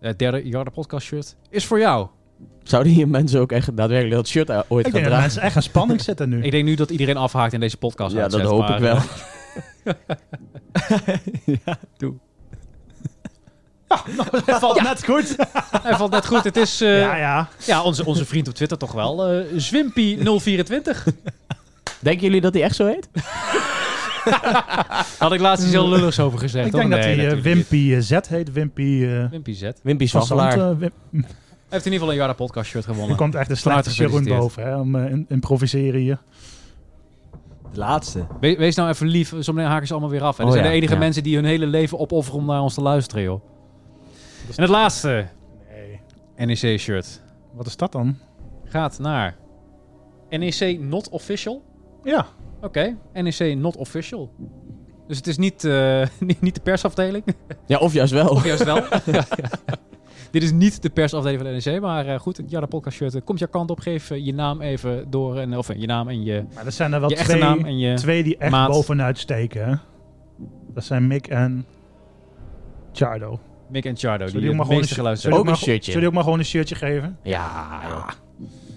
[SPEAKER 2] Het derde Jarda Podcast shirt is voor jou.
[SPEAKER 4] Zouden hier mensen ook echt daadwerkelijk dat shirt eh, ooit
[SPEAKER 3] Ik
[SPEAKER 4] gaan
[SPEAKER 3] denk dat
[SPEAKER 4] dragen?
[SPEAKER 3] mensen echt een spanning zitten nu.
[SPEAKER 2] Ik denk nu dat iedereen afhaakt in deze podcast.
[SPEAKER 4] Ja, dat
[SPEAKER 2] uitzet,
[SPEAKER 4] hoop
[SPEAKER 2] maar,
[SPEAKER 4] ik wel.
[SPEAKER 2] eh,
[SPEAKER 3] Dat valt net goed.
[SPEAKER 2] eh, Hij valt net goed. Het is eh,
[SPEAKER 3] ja,
[SPEAKER 2] ja,
[SPEAKER 3] ja.
[SPEAKER 2] onze, onze vriend op Twitter toch wel. eh Zwimpy024.
[SPEAKER 4] Denken jullie dat hij echt zo heet?
[SPEAKER 2] Had ik laatst iets heel lulligs over gezegd.
[SPEAKER 3] Ik
[SPEAKER 2] hoor.
[SPEAKER 3] denk dat
[SPEAKER 2] Nee,
[SPEAKER 3] hij eh,
[SPEAKER 2] natuurlijk niet.
[SPEAKER 3] Wimpy eh, Z heet. Wimpy eh,
[SPEAKER 2] Wimpy Z.
[SPEAKER 4] Wimpy
[SPEAKER 3] van Zand.
[SPEAKER 4] Swasselaar.
[SPEAKER 3] eh, Wim-
[SPEAKER 2] Hij heeft in ieder geval een Jarda podcast shirt
[SPEAKER 3] Er
[SPEAKER 2] gewonnen.
[SPEAKER 3] komt echt een
[SPEAKER 2] Van harte
[SPEAKER 3] slechte Jeroen
[SPEAKER 2] gefeliciteerd.
[SPEAKER 3] boven hè, om eh, in- improviseren hier.
[SPEAKER 5] De laatste.
[SPEAKER 2] We- wees nou even lief, zometeen haken ze allemaal weer af.
[SPEAKER 5] Oh
[SPEAKER 2] En dat zijn
[SPEAKER 5] ja,
[SPEAKER 2] de enige
[SPEAKER 5] ja.
[SPEAKER 2] mensen die hun hele leven opofferen om naar ons te luisteren, joh. En het laatste
[SPEAKER 3] Nee.
[SPEAKER 2] NEC shirt
[SPEAKER 3] Wat is dat dan?
[SPEAKER 2] gaat naar NEC Not Official.
[SPEAKER 3] Ja.
[SPEAKER 2] Oké, NEC Not Official. Dus het is niet, eh, niet, niet de persafdeling.
[SPEAKER 4] Ja, of juist wel.
[SPEAKER 2] Of juist wel. Ja, ja. Dit is niet de persafdeling van NEC, maar eh, goed, het Jarda podcast shirt eh, komt jouw kant op. Geef eh, je naam even door, en, of eh, je naam en je,
[SPEAKER 3] Maar er zijn er wel
[SPEAKER 2] je echte
[SPEAKER 3] twee,
[SPEAKER 2] naam en je...
[SPEAKER 3] twee die echt
[SPEAKER 2] maat.
[SPEAKER 3] bovenuit steken. Hè? Dat zijn Mick en Chardo.
[SPEAKER 2] Mick en Chardo,
[SPEAKER 3] Zullen
[SPEAKER 2] die
[SPEAKER 3] die ook
[SPEAKER 2] het
[SPEAKER 3] maar gewoon
[SPEAKER 2] meeste
[SPEAKER 3] een-
[SPEAKER 2] geluisterd
[SPEAKER 3] zullen die
[SPEAKER 4] Ook
[SPEAKER 3] maar
[SPEAKER 4] een
[SPEAKER 3] go-
[SPEAKER 4] shirtje.
[SPEAKER 3] Zullen die ook maar gewoon een shirtje geven?
[SPEAKER 4] Ja, joh.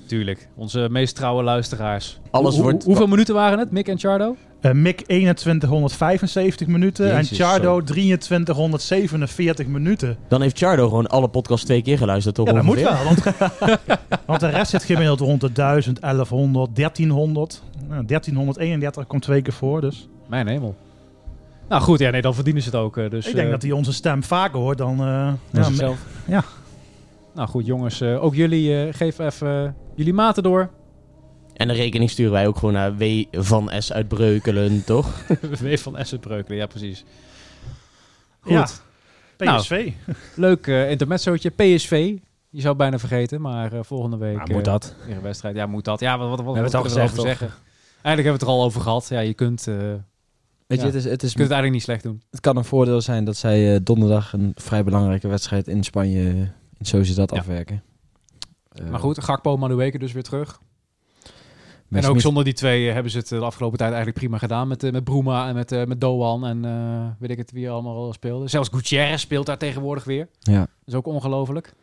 [SPEAKER 2] Tuurlijk, onze meest trouwe luisteraars.
[SPEAKER 4] Alles
[SPEAKER 2] Hoe- hoe-
[SPEAKER 4] wordt-
[SPEAKER 2] hoeveel minuten waren het, Mick en Chardo?
[SPEAKER 3] Eh, Mick 2175 minuten
[SPEAKER 5] Jezus,
[SPEAKER 3] en Chardo 2347 minuten.
[SPEAKER 4] Dan heeft Chardo gewoon alle podcasts twee keer geluisterd, toch?
[SPEAKER 3] Ja, dat moet
[SPEAKER 4] ongeveer?
[SPEAKER 3] wel. Want, want de rest zit gemiddeld rond de 1000, 1100, 1300. Nou, 1331 komt twee keer voor, dus.
[SPEAKER 2] Mijn hemel. Nou goed, ja, nee, dan verdienen ze het ook. eh, Dus,
[SPEAKER 3] ik denk
[SPEAKER 2] eh,
[SPEAKER 3] dat hij onze stem vaker hoort dan... eh,
[SPEAKER 5] Dan
[SPEAKER 3] ja,
[SPEAKER 5] zichzelf.
[SPEAKER 2] Nou goed, jongens, eh, ook jullie, eh, geef even eh, jullie maten door.
[SPEAKER 4] En de rekening sturen wij ook gewoon naar W van S uit Breukelen, toch?
[SPEAKER 2] W van Essen Breukelen, ja precies. Goed,
[SPEAKER 3] Ja.
[SPEAKER 2] Nou,
[SPEAKER 3] PSV.
[SPEAKER 2] leuk eh intermezzootje. PSV, je zou het bijna vergeten, maar eh, volgende week
[SPEAKER 5] moet
[SPEAKER 2] eh,
[SPEAKER 5] dat?
[SPEAKER 2] weer een wedstrijd. Ja, moet dat. Ja, wat, wat, wat,
[SPEAKER 5] We hebben
[SPEAKER 2] wat
[SPEAKER 5] het
[SPEAKER 2] kunnen
[SPEAKER 5] al
[SPEAKER 2] we erover
[SPEAKER 5] gezegd,
[SPEAKER 2] zeggen? Eigenlijk hebben we het er al over gehad. Ja, je kunt, eh,
[SPEAKER 5] Weet
[SPEAKER 2] Ja.
[SPEAKER 5] je, het, is, het, is,
[SPEAKER 2] je kunt het eigenlijk niet slecht doen.
[SPEAKER 5] het kan een voordeel zijn dat zij eh, donderdag een vrij belangrijke wedstrijd in Spanje eh, in Sociedad
[SPEAKER 2] Ja.
[SPEAKER 5] afwerken. Eh,
[SPEAKER 2] Maar goed, Gakpo, Madueke dus weer terug.
[SPEAKER 5] bij
[SPEAKER 2] en ook
[SPEAKER 5] Smit-
[SPEAKER 2] zonder die twee eh, hebben ze het de afgelopen tijd eigenlijk prima gedaan. Met, eh, met Bruma en met, eh, met Doan en eh, weet ik het wie allemaal al speelde. Zelfs Gutierrez speelt daar tegenwoordig weer.
[SPEAKER 5] Ja.
[SPEAKER 2] Dat is ook ongelooflijk.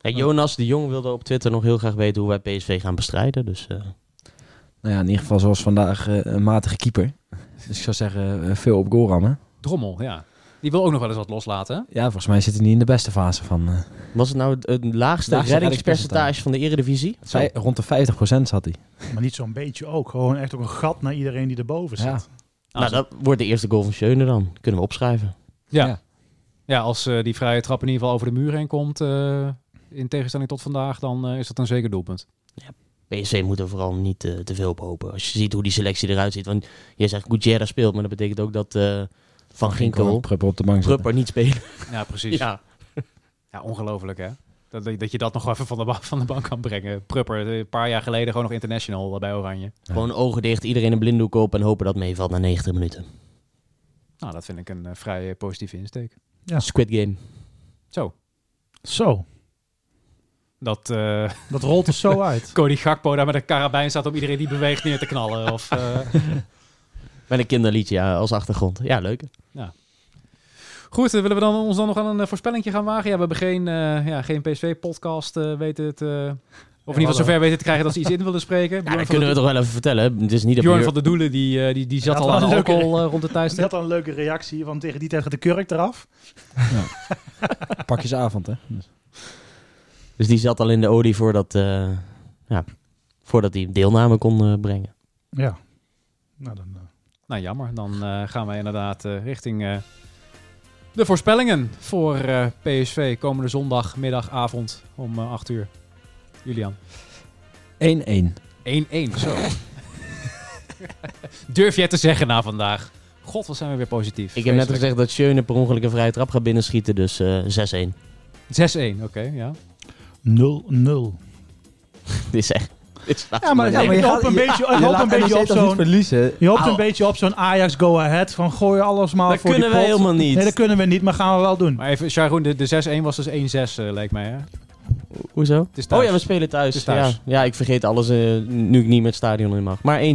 [SPEAKER 4] En Jonas de Jong wilde op Twitter nog heel graag weten hoe wij PSV gaan bestrijden. Dus eh,
[SPEAKER 5] Nou ja, in ieder geval zoals vandaag eh, een matige keeper. Dus ik zou zeggen, eh, veel op goal rammen.
[SPEAKER 2] Drommel, ja. Die wil ook nog wel eens wat loslaten. hè?
[SPEAKER 5] Ja, volgens mij zit hij niet in de beste fase van... eh,
[SPEAKER 4] was het nou het, het laagste
[SPEAKER 5] Laagste
[SPEAKER 4] reddingspercentage
[SPEAKER 5] reddingspercentage
[SPEAKER 4] van de Eredivisie? Nou,
[SPEAKER 5] Zo. Zij- rond de 50% zat hij.
[SPEAKER 3] Maar niet zo'n beetje ook. Gewoon echt ook een gat naar iedereen die erboven zit.
[SPEAKER 5] Ja.
[SPEAKER 4] Nou, dat wordt de eerste goal van Schöne dan. Kunnen we opschrijven.
[SPEAKER 2] Ja. ja.
[SPEAKER 5] Ja.
[SPEAKER 2] als eh, die vrije trap in ieder geval over de muur heen komt, eh, in tegenstelling tot vandaag, dan eh, is dat een zeker doelpunt.
[SPEAKER 4] PSV moet er vooral niet eh, te veel op hopen. Als je ziet hoe die selectie eruit ziet. Want jij zegt Gutierrez speelt, maar dat betekent ook dat eh, Van Ginkel,
[SPEAKER 5] Prupper op de bank zitten.
[SPEAKER 4] Prupper niet spelen.
[SPEAKER 2] Ja, precies. Ja,
[SPEAKER 4] Ja.
[SPEAKER 2] ongelooflijk hè. Dat, dat je dat nog even van de, ba- van de bank kan brengen. Prupper, eh, een paar jaar geleden gewoon nog international eh, bij Oranje.
[SPEAKER 4] Gewoon ogen dicht, iedereen een blinddoek op en hopen dat meevalt na 90 minuten.
[SPEAKER 2] Nou, dat vind ik een eh, vrij eh, positieve insteek.
[SPEAKER 3] Ja.
[SPEAKER 4] Squid Game.
[SPEAKER 2] Zo,
[SPEAKER 3] Zo,
[SPEAKER 2] dat eh
[SPEAKER 3] dat rolt er zo uit.
[SPEAKER 2] Cody Gakpo daar met een karabijn staat om iedereen die beweegt neer te knallen. Of, eh,
[SPEAKER 4] Met een kinderliedje ja, als achtergrond. Ja, leuk.
[SPEAKER 2] Goed, eh, willen we dan, ons dan nog aan een eh, voorspellingje gaan wagen? Ja, we hebben geen, eh, ja, geen PSV-podcast, weten het... eh, of in ieder geval zover weten te krijgen dat ze iets in willen spreken.
[SPEAKER 4] Ja,
[SPEAKER 2] Bjorn
[SPEAKER 4] dat
[SPEAKER 2] van
[SPEAKER 4] kunnen we toch wel even vertellen. Het is niet dat
[SPEAKER 2] Bjorn
[SPEAKER 4] Bjor-
[SPEAKER 2] van de Doelen die, eh, die, die zat
[SPEAKER 3] Ja,
[SPEAKER 2] al
[SPEAKER 3] dat
[SPEAKER 2] aan
[SPEAKER 3] was leuk,
[SPEAKER 2] alcohol eh, rond de thuis.
[SPEAKER 3] Is dat dan een leuke reactie? Want tegen die tijd gaat de kurk eraf.
[SPEAKER 5] pakjesavond, hè? Dus-
[SPEAKER 4] Dus die zat al in de Audi voordat, eh ja, voordat hij deelname kon eh, brengen.
[SPEAKER 3] Ja. Nou, dan, eh,
[SPEAKER 2] Nou, jammer. Dan eh, gaan wij inderdaad eh, richting eh, de voorspellingen voor eh, PSV komende zondagmiddag, avond om eh, 8 uur. Julian.
[SPEAKER 5] 1-1.
[SPEAKER 2] 1-1, zo. Durf jij te zeggen na vandaag? God, wat zijn we weer positief.
[SPEAKER 4] Ik heb net
[SPEAKER 2] Vreselijk.
[SPEAKER 4] gezegd dat Schöne per ongeluk een vrije trap gaat binnenschieten, dus eh 6-1.
[SPEAKER 2] 6-1, oké, ja.
[SPEAKER 3] 0-0.
[SPEAKER 4] Dit is echt... Dit is
[SPEAKER 3] Ja, maar, ja, maar je hoopt een beetje, je hoopt een
[SPEAKER 5] E
[SPEAKER 3] beetje op zo'n...
[SPEAKER 5] verliezen.
[SPEAKER 3] Je hoopt
[SPEAKER 4] Au.
[SPEAKER 3] een beetje op zo'n Ajax go-ahead. Van gooi alles maar
[SPEAKER 4] dat
[SPEAKER 3] voor
[SPEAKER 4] kunnen
[SPEAKER 3] die
[SPEAKER 4] we
[SPEAKER 3] pot.
[SPEAKER 4] helemaal niet.
[SPEAKER 3] Nee, dat kunnen we niet, maar gaan we wel doen.
[SPEAKER 2] Maar even, Sharon, de, de 6-1 was dus 1-6, eh, lijkt mij, hè?
[SPEAKER 4] Hoezo?
[SPEAKER 2] Het is thuis.
[SPEAKER 4] Oh ja, we spelen thuis.
[SPEAKER 2] Het is thuis.
[SPEAKER 4] Ja. ja, ik vergeet alles eh, nu ik niet met het stadion in mag. Maar 1-6.
[SPEAKER 2] 1-6,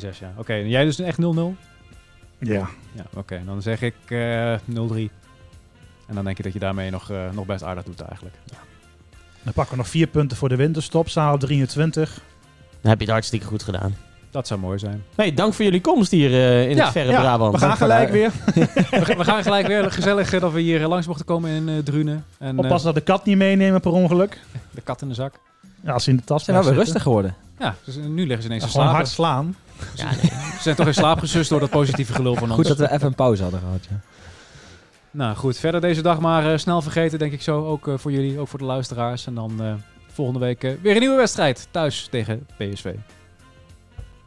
[SPEAKER 2] ja. Oké, en jij dus echt 0-0?
[SPEAKER 3] Ja.
[SPEAKER 2] Ja, oké. Dan zeg ik eh 0-3. En dan denk ik dat je daarmee nog, eh, nog best aardig doet eigenlijk.
[SPEAKER 3] Dan pakken we nog vier punten voor de winterstop. Staan we op 23.
[SPEAKER 4] Dan heb je het hartstikke goed gedaan.
[SPEAKER 2] Dat zou mooi zijn.
[SPEAKER 4] Hey, dank voor jullie komst hier eh, in
[SPEAKER 2] Ja,
[SPEAKER 4] het verre
[SPEAKER 3] ja,
[SPEAKER 4] Brabant.
[SPEAKER 3] We gaan gelijk weer.
[SPEAKER 2] We, gaan- we gaan gelijk weer gezellig eh, dat we hier eh, langs mochten komen in eh Drunen. En eh,
[SPEAKER 3] Oppassen dat de kat niet meenemen per ongeluk.
[SPEAKER 2] de kat in de zak.
[SPEAKER 3] Ja, als ze in de tas
[SPEAKER 5] Zijn we weer
[SPEAKER 3] blijft
[SPEAKER 5] rustig geworden?
[SPEAKER 2] Ja, dus eh, nu liggen ze ineens
[SPEAKER 3] zitten.
[SPEAKER 2] in
[SPEAKER 3] Ja, Gewoon
[SPEAKER 2] slaap.
[SPEAKER 3] hard slaan.
[SPEAKER 4] Ja, nee.
[SPEAKER 2] Ze zijn toch in slaap gesust door dat positieve gelul van ons.
[SPEAKER 5] Goed dat we even een pauze hadden gehad, ja.
[SPEAKER 2] Nou goed, verder deze dag maar eh, snel vergeten, denk ik zo. Ook eh, voor jullie, ook voor de luisteraars. En dan eh, volgende week eh, weer een nieuwe wedstrijd. Thuis tegen PSV.